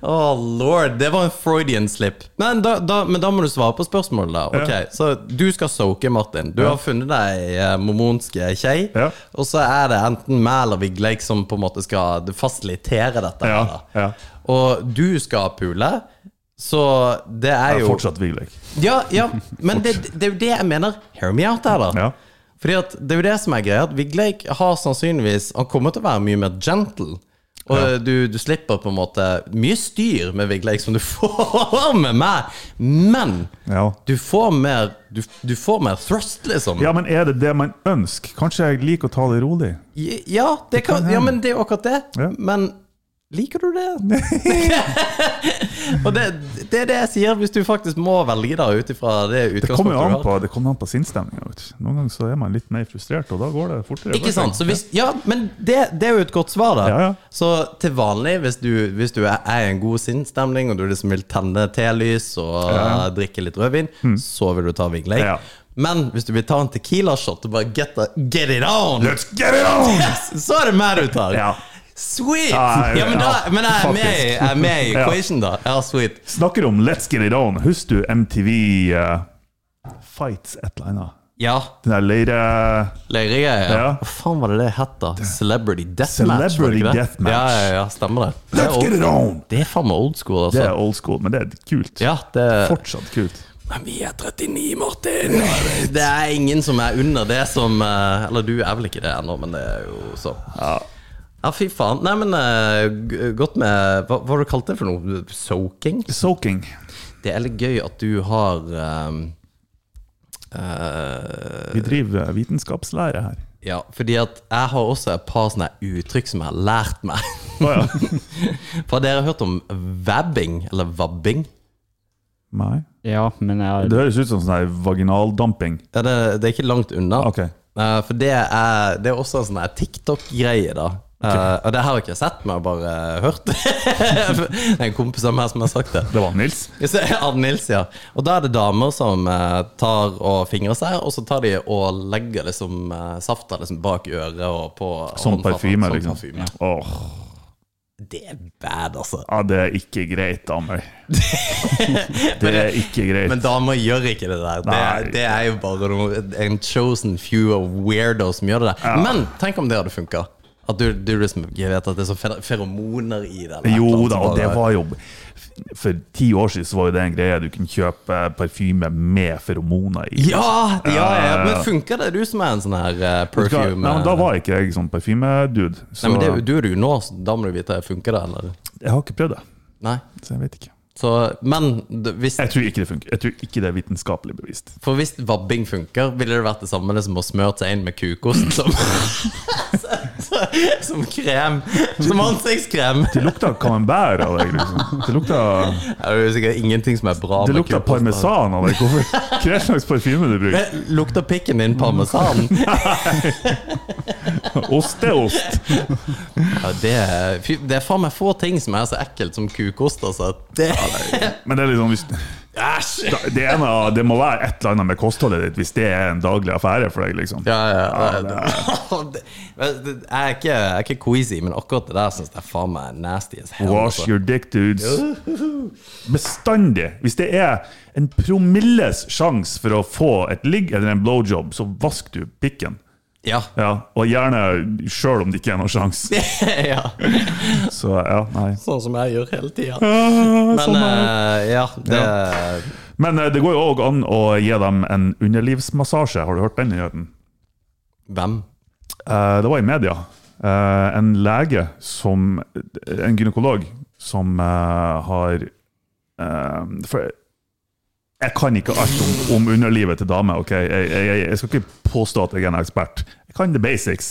Speaker 6: Oh lord, det var en Freudian slip. Men da, da, men da må du svare på spørsmålet, da. Ok, Så du skal soake, Martin. Du har funnet deg ei eh, mormonsk kjei.
Speaker 7: Ja.
Speaker 6: Og så er det enten meg eller Vigleik som på en måte skal fasilitere dette. her,
Speaker 7: Ja,
Speaker 6: da.
Speaker 7: ja.
Speaker 6: Og du skal pule. Så det
Speaker 7: Jeg
Speaker 6: er
Speaker 7: er
Speaker 6: jo
Speaker 7: fortsatt Vigleik.
Speaker 6: Ja, ja, men det, det er jo det jeg mener. Hear me out her, da.
Speaker 7: Ja.
Speaker 6: Fordi at det er jo det som er greia, at Vigleik har sannsynligvis Han kommer til å være mye mer gentle. Og du, du slipper på en måte mye styr med Vigleik som du får med meg, men
Speaker 7: Ja.
Speaker 6: du får mer du, du får mer thrust, liksom.
Speaker 7: ja, men er det det man ønsker? Kanskje jeg liker å ta det rolig?
Speaker 6: Ja, det kan, ja men det er jo akkurat det.
Speaker 7: Ja.
Speaker 6: Men Liker du det? og det, det er det jeg sier, hvis du faktisk må velge da ut ifra det
Speaker 7: Det kommer
Speaker 6: utgangspunktet
Speaker 7: jo an
Speaker 6: du har.
Speaker 7: på, det kommer an på sinnsstemninga. vet du. Noen ganger så er man litt mer frustrert, og da går det fortere.
Speaker 6: Ikke sant? Så hvis, ja, men det, det er jo et godt svar, da.
Speaker 7: Ja, ja.
Speaker 6: Så til vanlig, hvis du, hvis du er er i en god sinnsstemning, og du liksom vil tenne telys og eh, drikke litt rødvin, så vil du ta Vigleik.
Speaker 7: Hmm. Ja.
Speaker 6: Men hvis du vil ta en Tequila-shot og bare get, the, get it on,
Speaker 7: Let's get it on!
Speaker 6: så er det mer du tar.
Speaker 7: Ja.
Speaker 6: Sweet!
Speaker 7: Ja,
Speaker 6: Ja,
Speaker 7: ja,
Speaker 6: men, da,
Speaker 7: ja,
Speaker 6: men jeg er med, i- jeg er med i
Speaker 7: Ja.
Speaker 6: equation, da. Ja, sweet.
Speaker 7: Snakker om Let's Get It On. Husker du MTV eh, Fights et eller annet?
Speaker 6: Ja.
Speaker 7: Den der leire...
Speaker 6: Løyregreier. Ja.
Speaker 7: Ja.
Speaker 6: Hva faen var det det het, da? Celebrity Deathmatch? var det
Speaker 7: Celebrity
Speaker 6: ikke det?
Speaker 7: Deathmatch.
Speaker 6: Ja, ja, ja, stemmer det. Det er,
Speaker 7: Let's get
Speaker 6: old,
Speaker 7: it on!
Speaker 6: det er faen meg old school,
Speaker 7: Det
Speaker 6: altså.
Speaker 7: er old school, men det er kult.
Speaker 6: ja, det
Speaker 7: Fortsatt kult.
Speaker 6: Men vi er 39, Martin! Det er ingen som er under det som eh, Eller du er vel ikke det ennå, men det er jo så. Ja. fy faen. Nei, men eh, g- godt med Hva var det du kalte det for noe? Soaking?
Speaker 7: Soaking.
Speaker 6: Det er litt gøy at du har eh, eh,
Speaker 7: Vi driver eh, vitenskapslære her.
Speaker 6: Ja, fordi at jeg har også et par sånne uttrykk som jeg har lært meg.
Speaker 7: Å ja.
Speaker 6: For dere har hørt om vabbing, eller vabbing?
Speaker 7: Nei.
Speaker 8: Ja, men jeg
Speaker 7: Det høres ut som sånn her vaginaldamping.
Speaker 6: Ja, det, det er ikke langt unna.
Speaker 7: Ok.
Speaker 6: Eh, for det er, det er også en sånn her TikTok-greie, da. Eh, og det her har jeg ikke sett, men jeg har bare eh, hørt. det er en kompis av meg som har sagt det.
Speaker 7: Det var Nils.
Speaker 6: Så er det Ann Nils, ja. Og da er det damer som eh, tar og fingrer seg, og så tar de og legger liksom eh, safta liksom bak øret og på
Speaker 7: Sånn
Speaker 6: håndfatet,
Speaker 7: parfyme,
Speaker 6: sånn
Speaker 7: liksom.
Speaker 6: parfyme.
Speaker 7: Åh,
Speaker 6: Det er bad, altså.
Speaker 7: ja, det er ikke greit, damer. Det er ikke greit.
Speaker 6: Men damer gjør ikke det der. Det,
Speaker 7: Nei.
Speaker 6: det er jo bare noe, en chosen few of weirdos som gjør det der. Men tenk om det hadde funka. At du, du liksom jeg vet at det er sånn fer- feromoner i det. eller et eller
Speaker 7: Jo
Speaker 6: annet
Speaker 7: da,
Speaker 6: som
Speaker 7: og det
Speaker 6: altså, bare-
Speaker 7: var jo For ti år siden så var jo det en greie du kunne kjøpe parfyme med feromoner
Speaker 6: ja,
Speaker 7: i.
Speaker 6: ja, ja,
Speaker 7: Ja, ja, ja.
Speaker 6: men funker det, du som er en sånn her eh,
Speaker 7: Eh. Vet du hva?
Speaker 6: perfume?
Speaker 7: Nei, men Da var ikke jeg sånn parfymedude. Så
Speaker 6: Nei, men det, du er det jo nå, så da må du vite funker det, eller?
Speaker 7: jeg har ikke prøvd det.
Speaker 6: Nei.
Speaker 7: Så jeg vet ikke.
Speaker 6: Så, men d- hvis,
Speaker 7: Jeg tror ikke det funker. Jeg tror ikke det er vitenskapelig bevist.
Speaker 6: for hvis vabbing funker, ville det vært det samme det som å smøre seg inn med kukost som, som krem. Som ansiktskrem.
Speaker 7: Det lukta camembert av deg, liksom. Det lukta,
Speaker 6: Ja, Det er jo sikkert ingenting som er bra
Speaker 7: det
Speaker 6: med
Speaker 7: lukta
Speaker 6: kukost, da.
Speaker 7: parmesan av deg. Hvorfor? Hva slags parfyme du bruker?
Speaker 6: Men Lukter pikken din parmesan?
Speaker 7: Ost er ost.
Speaker 6: Ja, det, er, fy, det er faen meg få ting som er så ekkelt som kukost, altså. Det,
Speaker 7: Men det er liksom hvis,
Speaker 6: æsj!
Speaker 7: da- det, ene, det må være et eller annet med kostholdet ditt hvis det er en daglig affære for deg, liksom.
Speaker 6: Ja, ja, ja,
Speaker 7: Ja, det
Speaker 6: det- Men det- Jeg er ikke, jeg er ikke queasy, men akkurat det der syns jeg faen meg er nasty as hell.
Speaker 7: Wash
Speaker 6: altså.
Speaker 7: your dick, dudes. Bestandig. Hvis det er en promilles sjanse for å få et ligg eller en blowjob, så vask du pikken.
Speaker 6: Ja.
Speaker 7: Ja, og gjerne sjøl om det ikke er noen sjanse.
Speaker 6: ja.
Speaker 7: Så ja, nei.
Speaker 6: Sånn som jeg gjør hele tida.
Speaker 7: Ah,
Speaker 6: Men
Speaker 7: sånn er det.
Speaker 6: eh, ja, det
Speaker 7: Men eh, det går jo òg an å gi dem en underlivsmassasje. Har du hørt den nyheten?
Speaker 6: Hvem?
Speaker 7: Eh, Det var i media. Eh, En lege som En gynekolog som eh, har eh, For jeg kan ikke alt om, om underlivet til damer. ok? Jeg, jeg, jeg skal ikke påstå at jeg er en ekspert. Jeg kan the basics.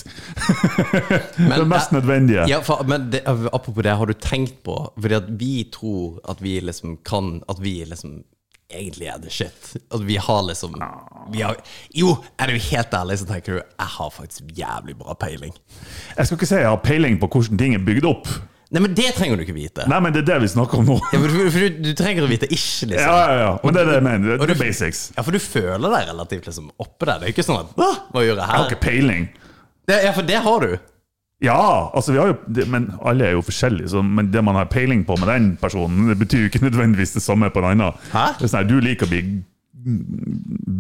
Speaker 7: det mest nødvendige.
Speaker 6: Ja, for, men det, apropos det, har du tenkt på Fordi at vi tror at vi liksom kan At vi liksom egentlig er the shit. At vi har liksom vi har, Jo, er du helt ærlig, så tenker du Jeg har faktisk jævlig bra peiling.
Speaker 7: Jeg skal ikke si jeg har peiling på hvordan ting er bygd opp.
Speaker 6: Nei, men det trenger du ikke vite.
Speaker 7: Nei, men det er det vi snakker om nå.
Speaker 6: Ja, for, for, for du, du trenger å vite ish, liksom.
Speaker 7: Ja, ja, ja. Men det er det jeg mener. Det
Speaker 6: Og
Speaker 7: er
Speaker 6: du-
Speaker 7: the basics.
Speaker 6: Ja, for du føler deg relativt liksom oppe der. Det er ikke sånn at Hva, hva gjør jeg
Speaker 7: Jeg har
Speaker 6: her?
Speaker 7: ikke peiling.
Speaker 6: Det, ja, for det har du.
Speaker 7: Ja, altså vi har jo, det, men alle er jo forskjellige, så, men det man har peiling på med den personen, det betyr jo ikke nødvendigvis det samme på en annen.
Speaker 6: Hæ?
Speaker 7: Det er sånn her, du liker å bli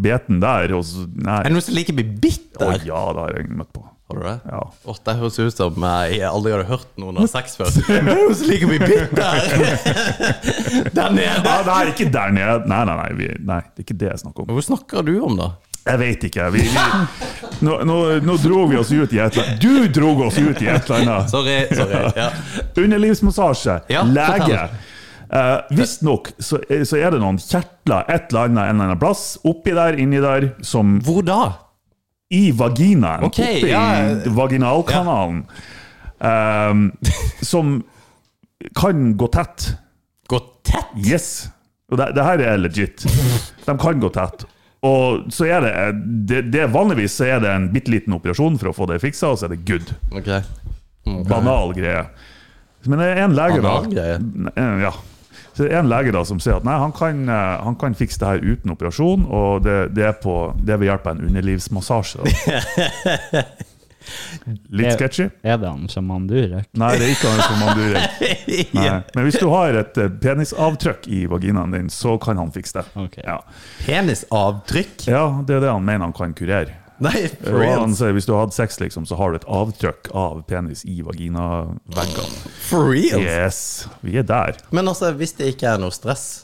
Speaker 7: beten der, og så Nei.
Speaker 6: Er det noen som liker å bli bitt
Speaker 7: Å
Speaker 6: der?
Speaker 7: ja, det har jeg møtt på.
Speaker 6: Har du det?
Speaker 7: Ja.
Speaker 6: Åh, det høres ut som eh, jeg aldri hadde hørt noen ha sex før. Det er jo så like mye bitt der! Der nede!
Speaker 7: Ja, det er ikke der nede. Nei, nei, nei, vi, nei, det er ikke det jeg snakker om.
Speaker 6: Hva snakker du om, da?
Speaker 7: Jeg vet ikke. Vi, vi, nå, nå, nå dro vi oss ut i et eller annet. Du dro oss ut i et eller annet.
Speaker 6: Sorry. sorry. Ja.
Speaker 7: Underlivsmassasje,
Speaker 6: Ja,
Speaker 7: lege.
Speaker 6: fortell.
Speaker 7: Uh, Visstnok så, eh, så er det noen kjertler et eller annet en eller annen plass oppi der, inni der, som
Speaker 6: Hvor da?
Speaker 7: i vaginaen.
Speaker 6: Ok,
Speaker 7: oppi
Speaker 6: ja.
Speaker 7: vaginalkanalen. Um, ehm, som kan gå tett.
Speaker 6: Gå tett!
Speaker 7: Yes! Og det, det her er legit. De kan gå tett. Og så er det, det, det Vanligvis så er det en bitte liten operasjon for å få det fiksa, og så er det good.
Speaker 6: Ok.
Speaker 7: Banal greie. Men det er en lege, da.
Speaker 6: Banal greie?
Speaker 7: N- Ja. Så det er en lege da som sier at nei, han kan, eh, han kan fikse det her uten operasjon, og det, det, er, på, det er ved hjelp av en underlivsmassasje. Da. Litt sketchy.
Speaker 8: Er det han som han durer?
Speaker 7: Nei, det er ikke han som han durer. Nei. Men hvis du har et eh, penisavtrykk i vaginaen din, så kan han fikse det.
Speaker 8: Ok.
Speaker 7: Ja.
Speaker 6: Penisavtrykk?
Speaker 7: ja, det er det han mener han kan kurere.
Speaker 6: Nei,
Speaker 7: Og
Speaker 6: for real.
Speaker 7: han sier hvis du har hatt sex, liksom, så har du et avtrykk av penis i vaginaveggene.
Speaker 6: For real.
Speaker 7: Yes, vi er der.
Speaker 6: Men altså, hvis det ikke er noe stress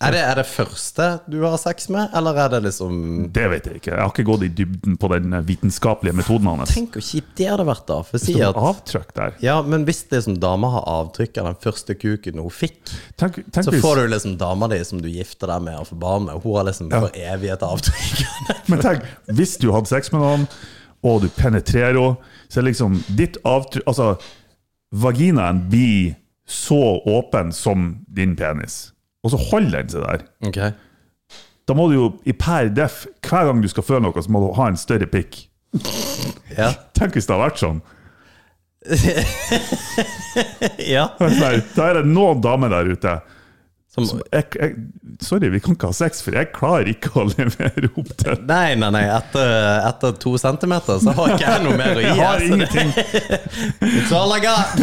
Speaker 6: er det, er det første du har sex med, eller er det liksom
Speaker 7: Det vet jeg ikke. Jeg har ikke gått i dybden på den vitenskapelige metoden hans.
Speaker 6: Tenk hvor kjipt det hadde vært, da. For si
Speaker 7: Det var
Speaker 6: at
Speaker 7: Avtrykk der.
Speaker 6: Ja, men hvis det som dama har avtrykk av den første kuken hun fikk,
Speaker 7: Tenk, tenk
Speaker 6: så
Speaker 7: hvis,
Speaker 6: får du liksom dama di som du gifter deg med og får barn med, hun har liksom for evig et avtrykk.
Speaker 7: men tenk, hvis du hadde sex med noen, og du penetrerer henne, så er liksom ditt avtrykk Altså, vaginaen blir så åpen som din penis, og så holder den seg der.
Speaker 6: Ok.
Speaker 7: Da må du jo i per def, hver gang du skal føle noe, så må du ha en større pikk.
Speaker 6: Ja.
Speaker 7: Tenk hvis det hadde vært sånn.
Speaker 6: ja.
Speaker 7: Nei, da er det noen damer der ute.
Speaker 6: Som,
Speaker 7: Jeg, jeg, sorry, vi kan ikke ha sex, for jeg klarer ikke å levere opp til
Speaker 6: nei, nei, nei. Etter, etter to centimeter så har ikke jeg noe mer å gi.
Speaker 7: Jeg har
Speaker 6: altså.
Speaker 7: ingenting.
Speaker 6: It's all I got.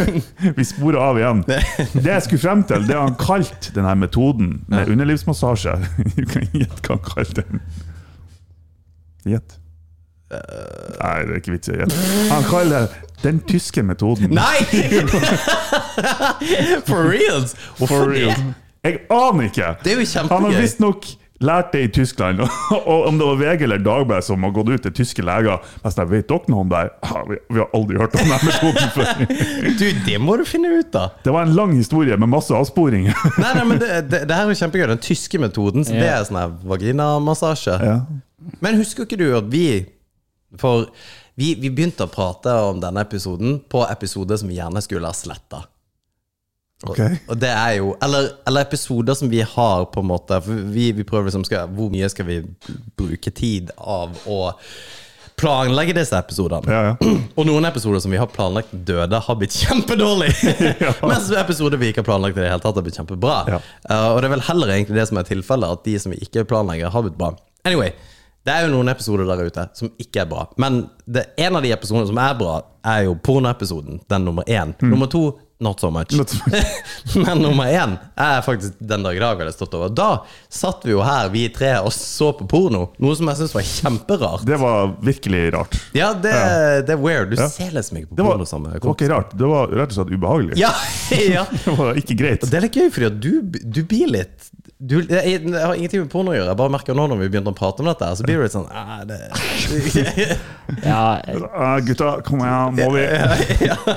Speaker 7: Vi sporer av igjen. Det jeg skulle frem til, det har han kalt denne metoden med underlivsmassasje. Du kan gjette hva han kalte den. Gjett. Nei, det er ikke vits i å gjette. Han kaller det den tyske metoden.
Speaker 6: Nei! For reals!
Speaker 7: For
Speaker 6: Hvorfor det?
Speaker 7: real. Jeg aner ikke!
Speaker 6: Det er jo kjempegøy.
Speaker 7: Han har visstnok lært det i Tyskland. Og om det var VG eller Dagbladet som har gått ut til tyske leger Men jeg vet dere noe om det her? Ja, vi- Vi har aldri hørt om den metoden før.
Speaker 6: Du, det må du finne ut av!
Speaker 7: Det var en lang historie med masse avsporinger.
Speaker 6: Nei, nei, men det, det, det her er jo kjempegøy. Den tyske metoden, så det er sånn her vaginamassasje.
Speaker 7: Ja.
Speaker 6: Men husker ikke du at vi For vi, vi begynte å prate om denne episoden på episoder som vi gjerne skulle ha sletta.
Speaker 7: Ok.
Speaker 6: Og det er jo eller, eller episoder som vi har, på en måte. For vi, vi prøver liksom skal, Hvor mye skal vi bruke tid av å planlegge disse episodene?
Speaker 7: Ja, ja.
Speaker 6: Og noen episoder som vi har planlagt døde, har blitt kjempedårlig. Mens episoder vi ikke har planlagt i det hele tatt, har blitt kjempebra.
Speaker 7: Ja.
Speaker 6: Eh, og det er vel heller egentlig det som er tilfellet, at de som vi ikke planlegger, har blitt bra. Anyway, det er jo noen episoder der ute som ikke er bra. Men det, en av de episodene som er bra, er jo pornoepisoden. Den nummer én. Nummer to not so much.
Speaker 7: Mm. Not so
Speaker 6: Men nummer én er faktisk den dag i dag vi hadde stått over. Da satt vi jo her, vi tre, og så på porno. Noe som jeg syns var kjemperart.
Speaker 7: Det var virkelig rart.
Speaker 6: Ja, det, det er weird. Du
Speaker 7: Ja.
Speaker 6: ser liksom ikke på
Speaker 7: Det var,
Speaker 6: porno sammen.
Speaker 7: det var ikke rart. Det var rett og slett ubehagelig.
Speaker 6: Ja, ja.
Speaker 7: Det var ikke greit.
Speaker 6: Det er litt gøy, fordi at du, du blir litt du, jeg, jeg har ingenting med porno å gjøre. Jeg bare merker nå når vi begynte å prate om dette, her, så blir du litt sånn ah, det.
Speaker 8: Ja, jeg-
Speaker 7: Eh, gutta, kom igjen, må vi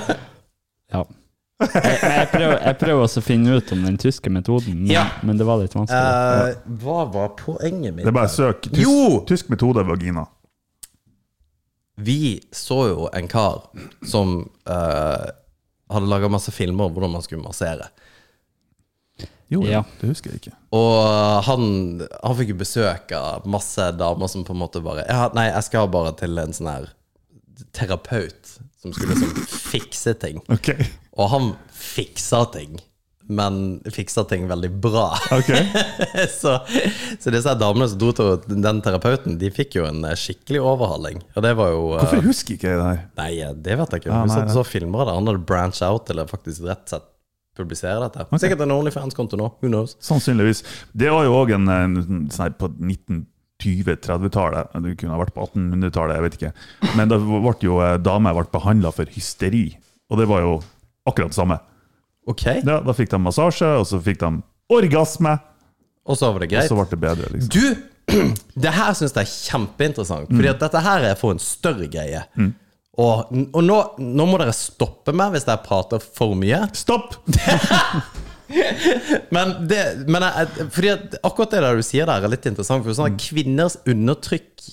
Speaker 8: ja. Jeg, jeg, prøver, jeg prøver også å finne ut om den tyske metoden, men,
Speaker 6: Ja.
Speaker 8: men det var litt vanskelig.
Speaker 6: Eh, Hva var poenget mitt?
Speaker 7: Det er bare søk. Tysk,
Speaker 6: Jo!
Speaker 7: tysk metode vagina.
Speaker 6: Vi så jo en kar som eh, hadde laga masse filmer om hvordan man skulle massere.
Speaker 7: Jo,
Speaker 8: Ja.
Speaker 7: det husker jeg ikke.
Speaker 6: Og han, han fikk jo besøk av masse damer som på en måte bare ja, Nei, jeg skal bare til en sånn her terapeut som skulle liksom fikse ting.
Speaker 7: Ok,
Speaker 6: Og han fiksa ting, men fiksa ting veldig bra.
Speaker 7: ok.
Speaker 6: så, så disse her damene som dro til den terapeuten, de fikk jo en eh, skikkelig overhaling. Og det var jo eh,
Speaker 7: Hvorfor husker ikke jeg det her?
Speaker 6: Nei, eh, det vet jeg ikke.
Speaker 7: Ah,
Speaker 6: Hun
Speaker 7: nei,
Speaker 6: satt og
Speaker 7: nei.
Speaker 6: så filmer av det. Han hadde branch out, eller faktisk rett sett publisere dette. Sikkert en OnlyFans-konto nå. Who knows?
Speaker 7: Sannsynligvis. Det var jo òg en, en sånn her på 1920-30-tallet. Det kunne ha vært på 1800-tallet, jeg vet ikke. Men da ble jo eh, damer ble behandla for hysteri. Og det var jo akkurat det samme.
Speaker 6: Ok,
Speaker 7: Ja, da fikk de massasje, og så fikk de orgasme,
Speaker 6: og så var det
Speaker 7: og
Speaker 6: greit.
Speaker 7: så ble det bedre. liksom.
Speaker 6: Du, det her syns jeg er kjempeinteressant. Fordi at dette her er for en større greie. Og, og nå, nå må dere stoppe meg hvis jeg prater for mye.
Speaker 7: Stopp!
Speaker 6: Men, det, men jeg, fordi at akkurat det der du sier der, er litt interessant. For sånn at kvinners undertrykk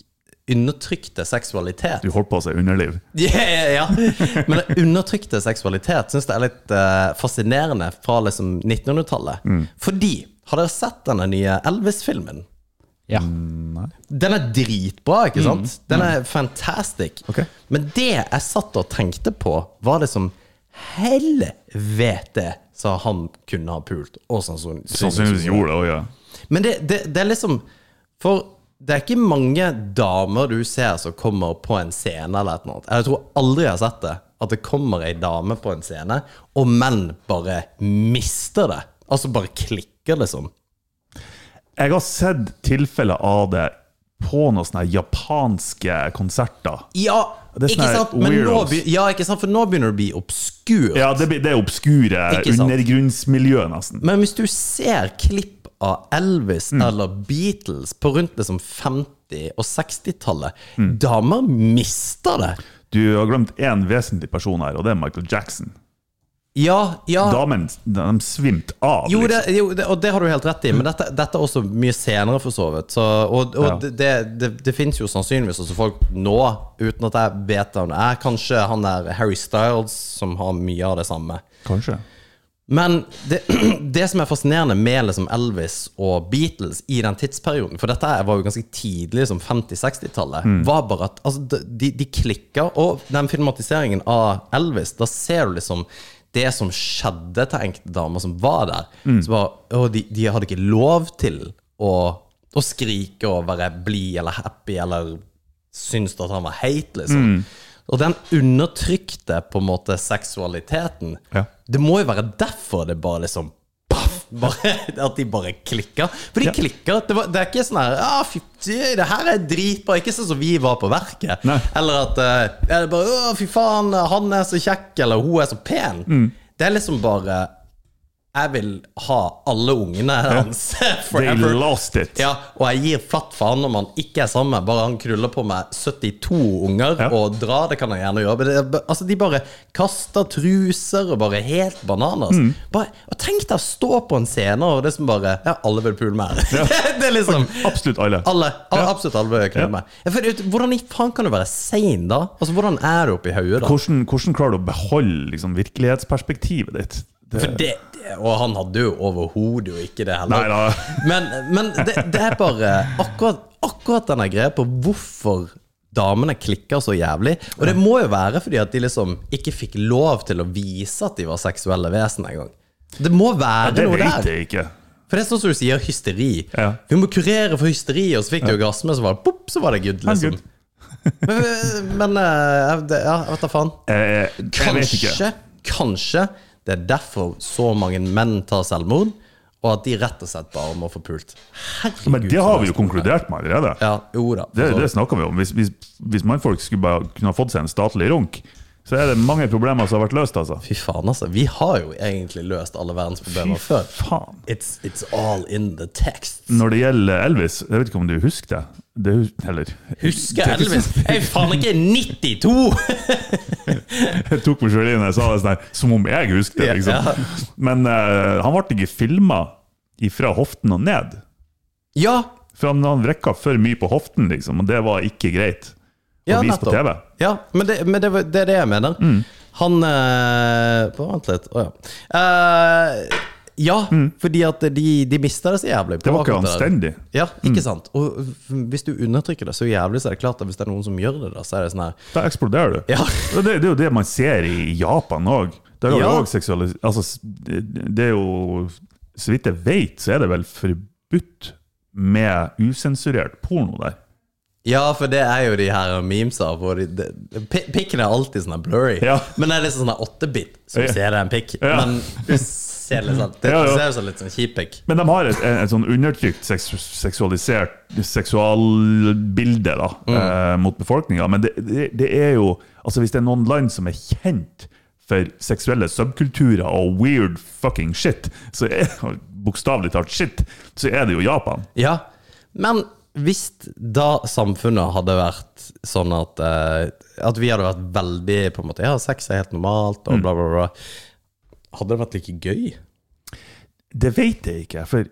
Speaker 6: undertrykte seksualitet
Speaker 7: Du holdt på å si underliv.
Speaker 6: Ja, ja, ja. Men den undertrykte seksualitet syns jeg er litt eh, fascinerende fra liksom 1900-tallet. Fordi Har dere sett denne nye Elvis-filmen?
Speaker 8: Ja.
Speaker 6: Den er dritbra, ikke sant? Den er fantastic.
Speaker 7: Mm. Ok.
Speaker 6: Men det jeg satt og tenkte på, var det som Helvete, sa han kunne ha pult. Og sannsyn-
Speaker 7: Sannsynligvis gjorde det òg, ja.
Speaker 6: Men det, det, det er liksom For det er ikke mange damer du ser som kommer på en scene eller et eller annet. Jeg tror aldri jeg har sett det. At det kommer ei dame på en scene, og menn bare mister det. Altså bare klikker, liksom.
Speaker 7: Jeg har sett tilfeller av det på noen sånne japanske konserter.
Speaker 6: Ja,
Speaker 7: Det er
Speaker 6: ikke
Speaker 7: sånne
Speaker 6: sant? Men nå,
Speaker 7: weirdos.
Speaker 6: be- ja, ikke sant? For nå begynner det å bli obskurt.
Speaker 7: Ja, det, blir- det er obskure
Speaker 6: Ikke sant.
Speaker 7: undergrunnsmiljø, nesten.
Speaker 6: Men hvis du ser klipp av Elvis
Speaker 7: Mm.
Speaker 6: eller Beatles på rundt liksom 50- og 60-tallet,
Speaker 7: Mm.
Speaker 6: damer mister det.
Speaker 7: Du har glemt én vesentlig person her, og det er Michael Jackson.
Speaker 6: Ja, ja.
Speaker 7: Damene de svimte
Speaker 6: Ah.
Speaker 7: av.
Speaker 6: Jo, det,
Speaker 7: liksom.
Speaker 6: jo det, og det har du helt rett i, men dette, dette er også mye senere for så vidt. Så, og og
Speaker 7: Ja.
Speaker 6: det, det, det, det fins jo sannsynligvis også folk nå, uten at jeg vet hvem det er. Kanskje han der Harry Styles, som har mye av det samme.
Speaker 7: Kanskje.
Speaker 6: Men det, det som er fascinerende med liksom Elvis og Beatles i den tidsperioden, for dette her var jo ganske tidlig, som 50-60-tallet, var bare at altså, de- de, de klikker. Og den filmatiseringen av Elvis, da ser du liksom det som skjedde til enkelte damer som var der. Så bare, og de, de hadde ikke lov til å, å skrike og være blid eller happy eller syntes at han var heit, liksom.
Speaker 7: Mm.
Speaker 6: Og den undertrykte på en måte seksualiteten.
Speaker 7: Ja.
Speaker 6: Det må jo være derfor det bare liksom paff, bare, At de bare klikker. For de
Speaker 7: Ja.
Speaker 6: klikker. Det, var, det er ikke sånn her ah, fy, Det her er dritbra. Ikke sånn som vi var på verket.
Speaker 7: Nei.
Speaker 6: Eller at eh, er det bare, Å, fy faen, han er så kjekk, eller hun er så pen.
Speaker 7: Mm.
Speaker 6: Det er liksom bare Jeg vil ha alle ungene hans
Speaker 7: They
Speaker 6: forever.
Speaker 7: lost it.
Speaker 6: Ja, og jeg gir fatt faen om han ikke er sammen, bare han kruller på meg 72 unger
Speaker 7: Ja.
Speaker 6: og drar. Det kan han gjerne gjøre. Men det, er ba- altså, de bare kaster truser og bare helt bananas.
Speaker 7: Mm.
Speaker 6: Bare, og tenk deg å stå på en scene og det som bare Ja, alle vil pule meg. det er liksom
Speaker 7: Absolutt alle.
Speaker 6: alle, al- Absolutt alle vil knulle
Speaker 7: Ja.
Speaker 6: meg. Ja, for det- Hvordan i faen kan du være sein, da? Altså, Hvordan er du oppi hodet, da?
Speaker 7: Hvordan, hvordan klarer du å beholde liksom, virkelighetsperspektivet ditt? Det,
Speaker 6: For det, og han hadde jo overhodet jo ikke det heller.
Speaker 7: Nei da.
Speaker 6: Men, men det, det er bare akkurat, akkurat denne greia på hvorfor damene klikker så jævlig. Og det må jo være fordi at de liksom ikke fikk lov til å vise at de var seksuelle vesen engang. Det må være
Speaker 7: det
Speaker 6: noe
Speaker 7: vet
Speaker 6: der.
Speaker 7: jeg ikke.
Speaker 6: For det er sånn som du sier, hysteri.
Speaker 7: Ja.
Speaker 6: Vi må kurere for hysteri, og så fikk du orgasme, så var det pop, så var det good,
Speaker 7: Men
Speaker 6: liksom.
Speaker 7: good.
Speaker 6: Men, men eh, det- ja, jeg vet da faen.
Speaker 7: Eh, jeg vet ikke.
Speaker 6: Kanskje, kanskje det er derfor så mange menn tar selvmord, og at de rett og slett bare må få pult. Herregud.
Speaker 7: Men det
Speaker 6: så
Speaker 7: har vi jo
Speaker 6: mye spennende.
Speaker 7: konkludert med allerede.
Speaker 6: Ja, jo da. Altså,
Speaker 7: Det,
Speaker 6: for
Speaker 7: det
Speaker 6: så-
Speaker 7: snakka vi om. Hvis, hvis, hvis mannfolk skulle bare kunne ha fått seg en statlig runk, så er det mange problemer som har vært løst, altså.
Speaker 6: Fy faen, altså. Vi har jo egentlig løst alle verdens problemer
Speaker 7: Fy
Speaker 6: før.
Speaker 7: faen. Mm.
Speaker 6: It's, it's all in the text.
Speaker 7: Når det gjelder Elvis, jeg vet ikke om du husker det. det hus- eller,
Speaker 6: Husker Elvis?
Speaker 7: liksom-
Speaker 6: Jeg er faen ikke 92!
Speaker 7: Jeg tok meg selv inn og sa det sånn her, som om jeg husker det,
Speaker 6: Ja.
Speaker 7: liksom. Men eh, han ble ikke filma fra hoften og ned.
Speaker 6: Ja,
Speaker 7: For han, han vrekka for mye på hoften, liksom, og det var ikke greit å
Speaker 6: ja
Speaker 7: vise på TV. Mm.
Speaker 6: Ja, men det, men det, var- det er det jeg mener. Han eh, bare Vent litt. Å ja. Eh, ja, fordi at de, de mista det så jævlig. på
Speaker 7: Mm. Det var ikke
Speaker 6: akkurat der.
Speaker 7: anstendig. Mm.
Speaker 6: Ja, ikke sant. Og hvis du undertrykker det så jævlig, så er det klart at hvis det er noen som gjør det, da, så er det sånn her
Speaker 7: Da eksploderer du.
Speaker 6: Ja.
Speaker 7: Og Det, det er jo det man ser i Japan òg. Der har
Speaker 6: Ja.
Speaker 7: du også seksualis... Altså, s- det det er jo Så vidt jeg vet, så er det vel forbudt med usensurert porno der.
Speaker 6: Ja, for det er jo de her memesa hvor de, de, pi- Pikken er alltid sånn her blurry.
Speaker 7: Ja.
Speaker 6: Men det er liksom sånn her åttebit, så du
Speaker 7: Ja.
Speaker 6: ser det er en pikk.
Speaker 7: Ja.
Speaker 6: Men du ser litt sånn Det
Speaker 7: Ja, ja.
Speaker 6: ser ut som litt sånn kjip pikk.
Speaker 7: Men de har et, en- et sånn undertrykt seks, seksualisert seksualbilde da, eh, mot befolkninga. Men det, det, det er jo altså Hvis det er noen land som er kjent for seksuelle subkulturer og weird fucking shit, så er bokstavelig talt shit, så er det jo Japan.
Speaker 6: Ja, men hvis da samfunnet hadde vært sånn at eh, At vi hadde vært veldig på en måte Ja, sex er helt normalt,
Speaker 7: Mm.
Speaker 6: og bla, bla, bla. Hadde det vært like gøy?
Speaker 7: Det vet jeg ikke, for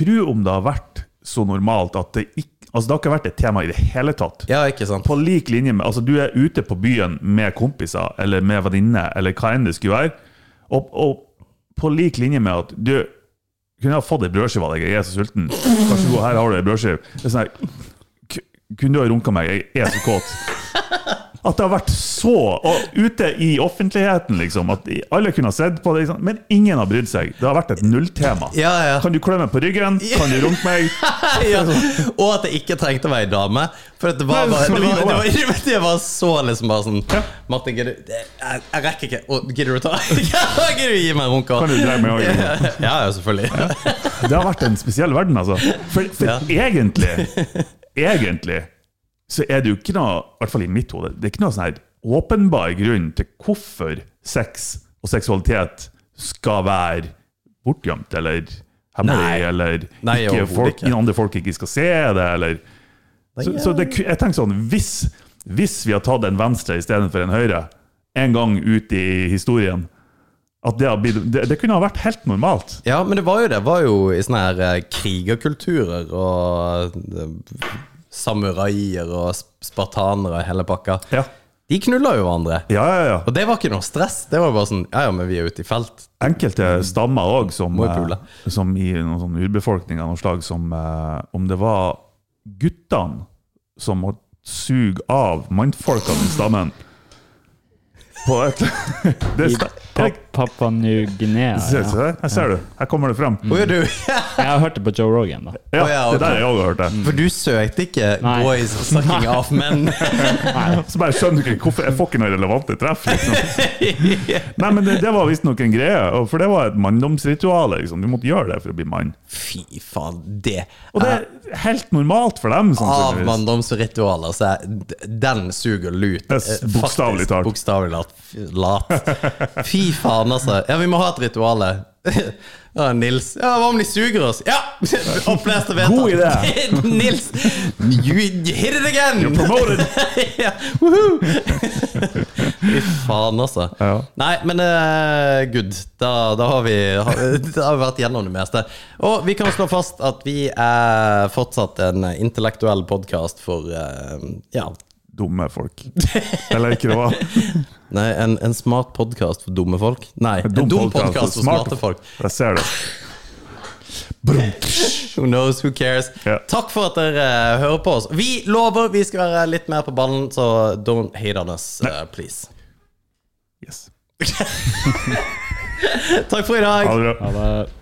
Speaker 7: tro om det har vært så normalt at det ikke Altså, det har ikke vært et tema i det hele tatt.
Speaker 6: Ja, ikke sant?
Speaker 7: På lik linje med Altså, du er ute på byen med kompiser eller med venninne eller hva enn det skulle være, og, og på lik linje med at du kunne jeg ha fått ei brødskive av deg, jeg er så sulten. Vær så god, her har du ei brødskive. Det er sånn her, «Ku- Kunne du ha runka meg, jeg er så kåt. At det har vært så og ute i offentligheten, liksom. At alle kunne ha sett på det, liksom. men ingen har brydd seg. Det har vært et nulltema.
Speaker 6: Ja, ja.
Speaker 7: Kan du klø meg på ryggen? Kan du runke meg?
Speaker 6: ja. Og at jeg ikke trengte å være ei dame. For at det var
Speaker 7: Nei,
Speaker 6: bare
Speaker 7: så
Speaker 6: det var,
Speaker 7: lite
Speaker 6: det var,
Speaker 7: var det.
Speaker 6: det var, det var så liksom bare sånn
Speaker 7: Ja.
Speaker 6: Martin, gidder du det- Jeg, jeg rekker ikke. Å, Gidder du å ta Gidder du å gi meg en runke?
Speaker 7: Kan du dra meg i øynene?
Speaker 6: Ja, ja, selvfølgelig.
Speaker 7: Det har vært en spesiell verden, altså. For, for egentlig, egentlig, så er det jo ikke noe, i hvert fall i mitt hode, det er ikke noe sånn her åpenbar grunn til hvorfor sex og seksualitet skal være bortgjemt, eller hemmelig,
Speaker 6: Nei.
Speaker 7: eller
Speaker 6: Nei,
Speaker 7: ikke
Speaker 6: overhodet
Speaker 7: folk,
Speaker 6: ikke.
Speaker 7: andre folk ikke skal se det, eller Så, så det, ku- jeg tenker sånn, hvis, hvis vi har tatt en venstre istedenfor en høyre, en gang ut i historien, at det, har blitt- det, det kunne ha vært helt normalt.
Speaker 6: Ja, men det var jo det. Det var jo i sånne her eh, krigerkulturer og eh, samuraier og sp- spartanere og hele pakka.
Speaker 7: Ja.
Speaker 6: De knulla jo hverandre.
Speaker 7: Ja, ja, ja.
Speaker 6: Og det var ikke noe stress. Det var bare sånn Ja, ja, men vi er ute i felt.
Speaker 7: enkelte stammer òg, som,
Speaker 6: Må jo pule.
Speaker 7: eh, som i noen sånn urbefolkning av noe slag, som eh, om det var guttene som må suge av mannfolkene i stammen på et det er, sta-
Speaker 8: Pa- Papua New-Guinea.
Speaker 7: Se, se
Speaker 8: Ja.
Speaker 7: der. Her ser du. Her kommer det frem.
Speaker 6: Å ja, du
Speaker 7: Mm.
Speaker 8: Jeg hørte på Joe Rogan, da.
Speaker 7: Ja,
Speaker 6: Å, ja,
Speaker 7: det
Speaker 6: ok.
Speaker 7: der
Speaker 6: Mm.
Speaker 7: har jeg òg hørt. det.
Speaker 6: For du søkte ikke
Speaker 8: Nei.
Speaker 6: 'boys sucking off men
Speaker 7: Så bare skjønner du ikke hvorfor jeg får ikke noen relevante treff. liksom. Nei, men Det, det var visstnok en greie, og- for det var et manndomsritual. Liksom. Du måtte gjøre det for å bli mann.
Speaker 6: Fy faen, det Ah,
Speaker 7: Og det
Speaker 6: er
Speaker 7: er helt normalt for dem.
Speaker 6: av
Speaker 7: sannsynligvis.
Speaker 6: manndomsritualer, så er d- den suger lut.
Speaker 7: Det er s-
Speaker 6: eh,
Speaker 7: bokstavelig
Speaker 6: faktisk.
Speaker 7: talt.
Speaker 6: Bokstavelig talt. Fy- Lat. Fy faen, altså. Ja, vi må ha et rituale. Ja, Nils. Ja, hva om de suger oss? Ja! Opplest og vedtatt.
Speaker 7: God idé.
Speaker 6: Nils, you hit it again!
Speaker 7: You're promoted!
Speaker 6: ja, woohoo! Fy faen, altså.
Speaker 7: Ja.
Speaker 6: Nei, men eh, good. Da, da, har vi, da har vi vært gjennom det meste. Og vi kan slå fast at vi er fortsatt en intellektuell podkast for eh, Ja.
Speaker 7: dumme folk. Eller ikke det var
Speaker 6: Nei, en, en smart podkast for dumme folk? Nei, en dum podkast for smarte folk.
Speaker 7: altså. Jeg ser det.
Speaker 6: Who knows, who cares?
Speaker 7: Ja.
Speaker 6: Takk for at dere eh, hører på oss. Vi lover vi skal være litt mer på ballen, så don't hate on us, eh, please.
Speaker 7: Yes.
Speaker 6: Takk for i dag.
Speaker 7: Ha det bra.
Speaker 8: Ja, det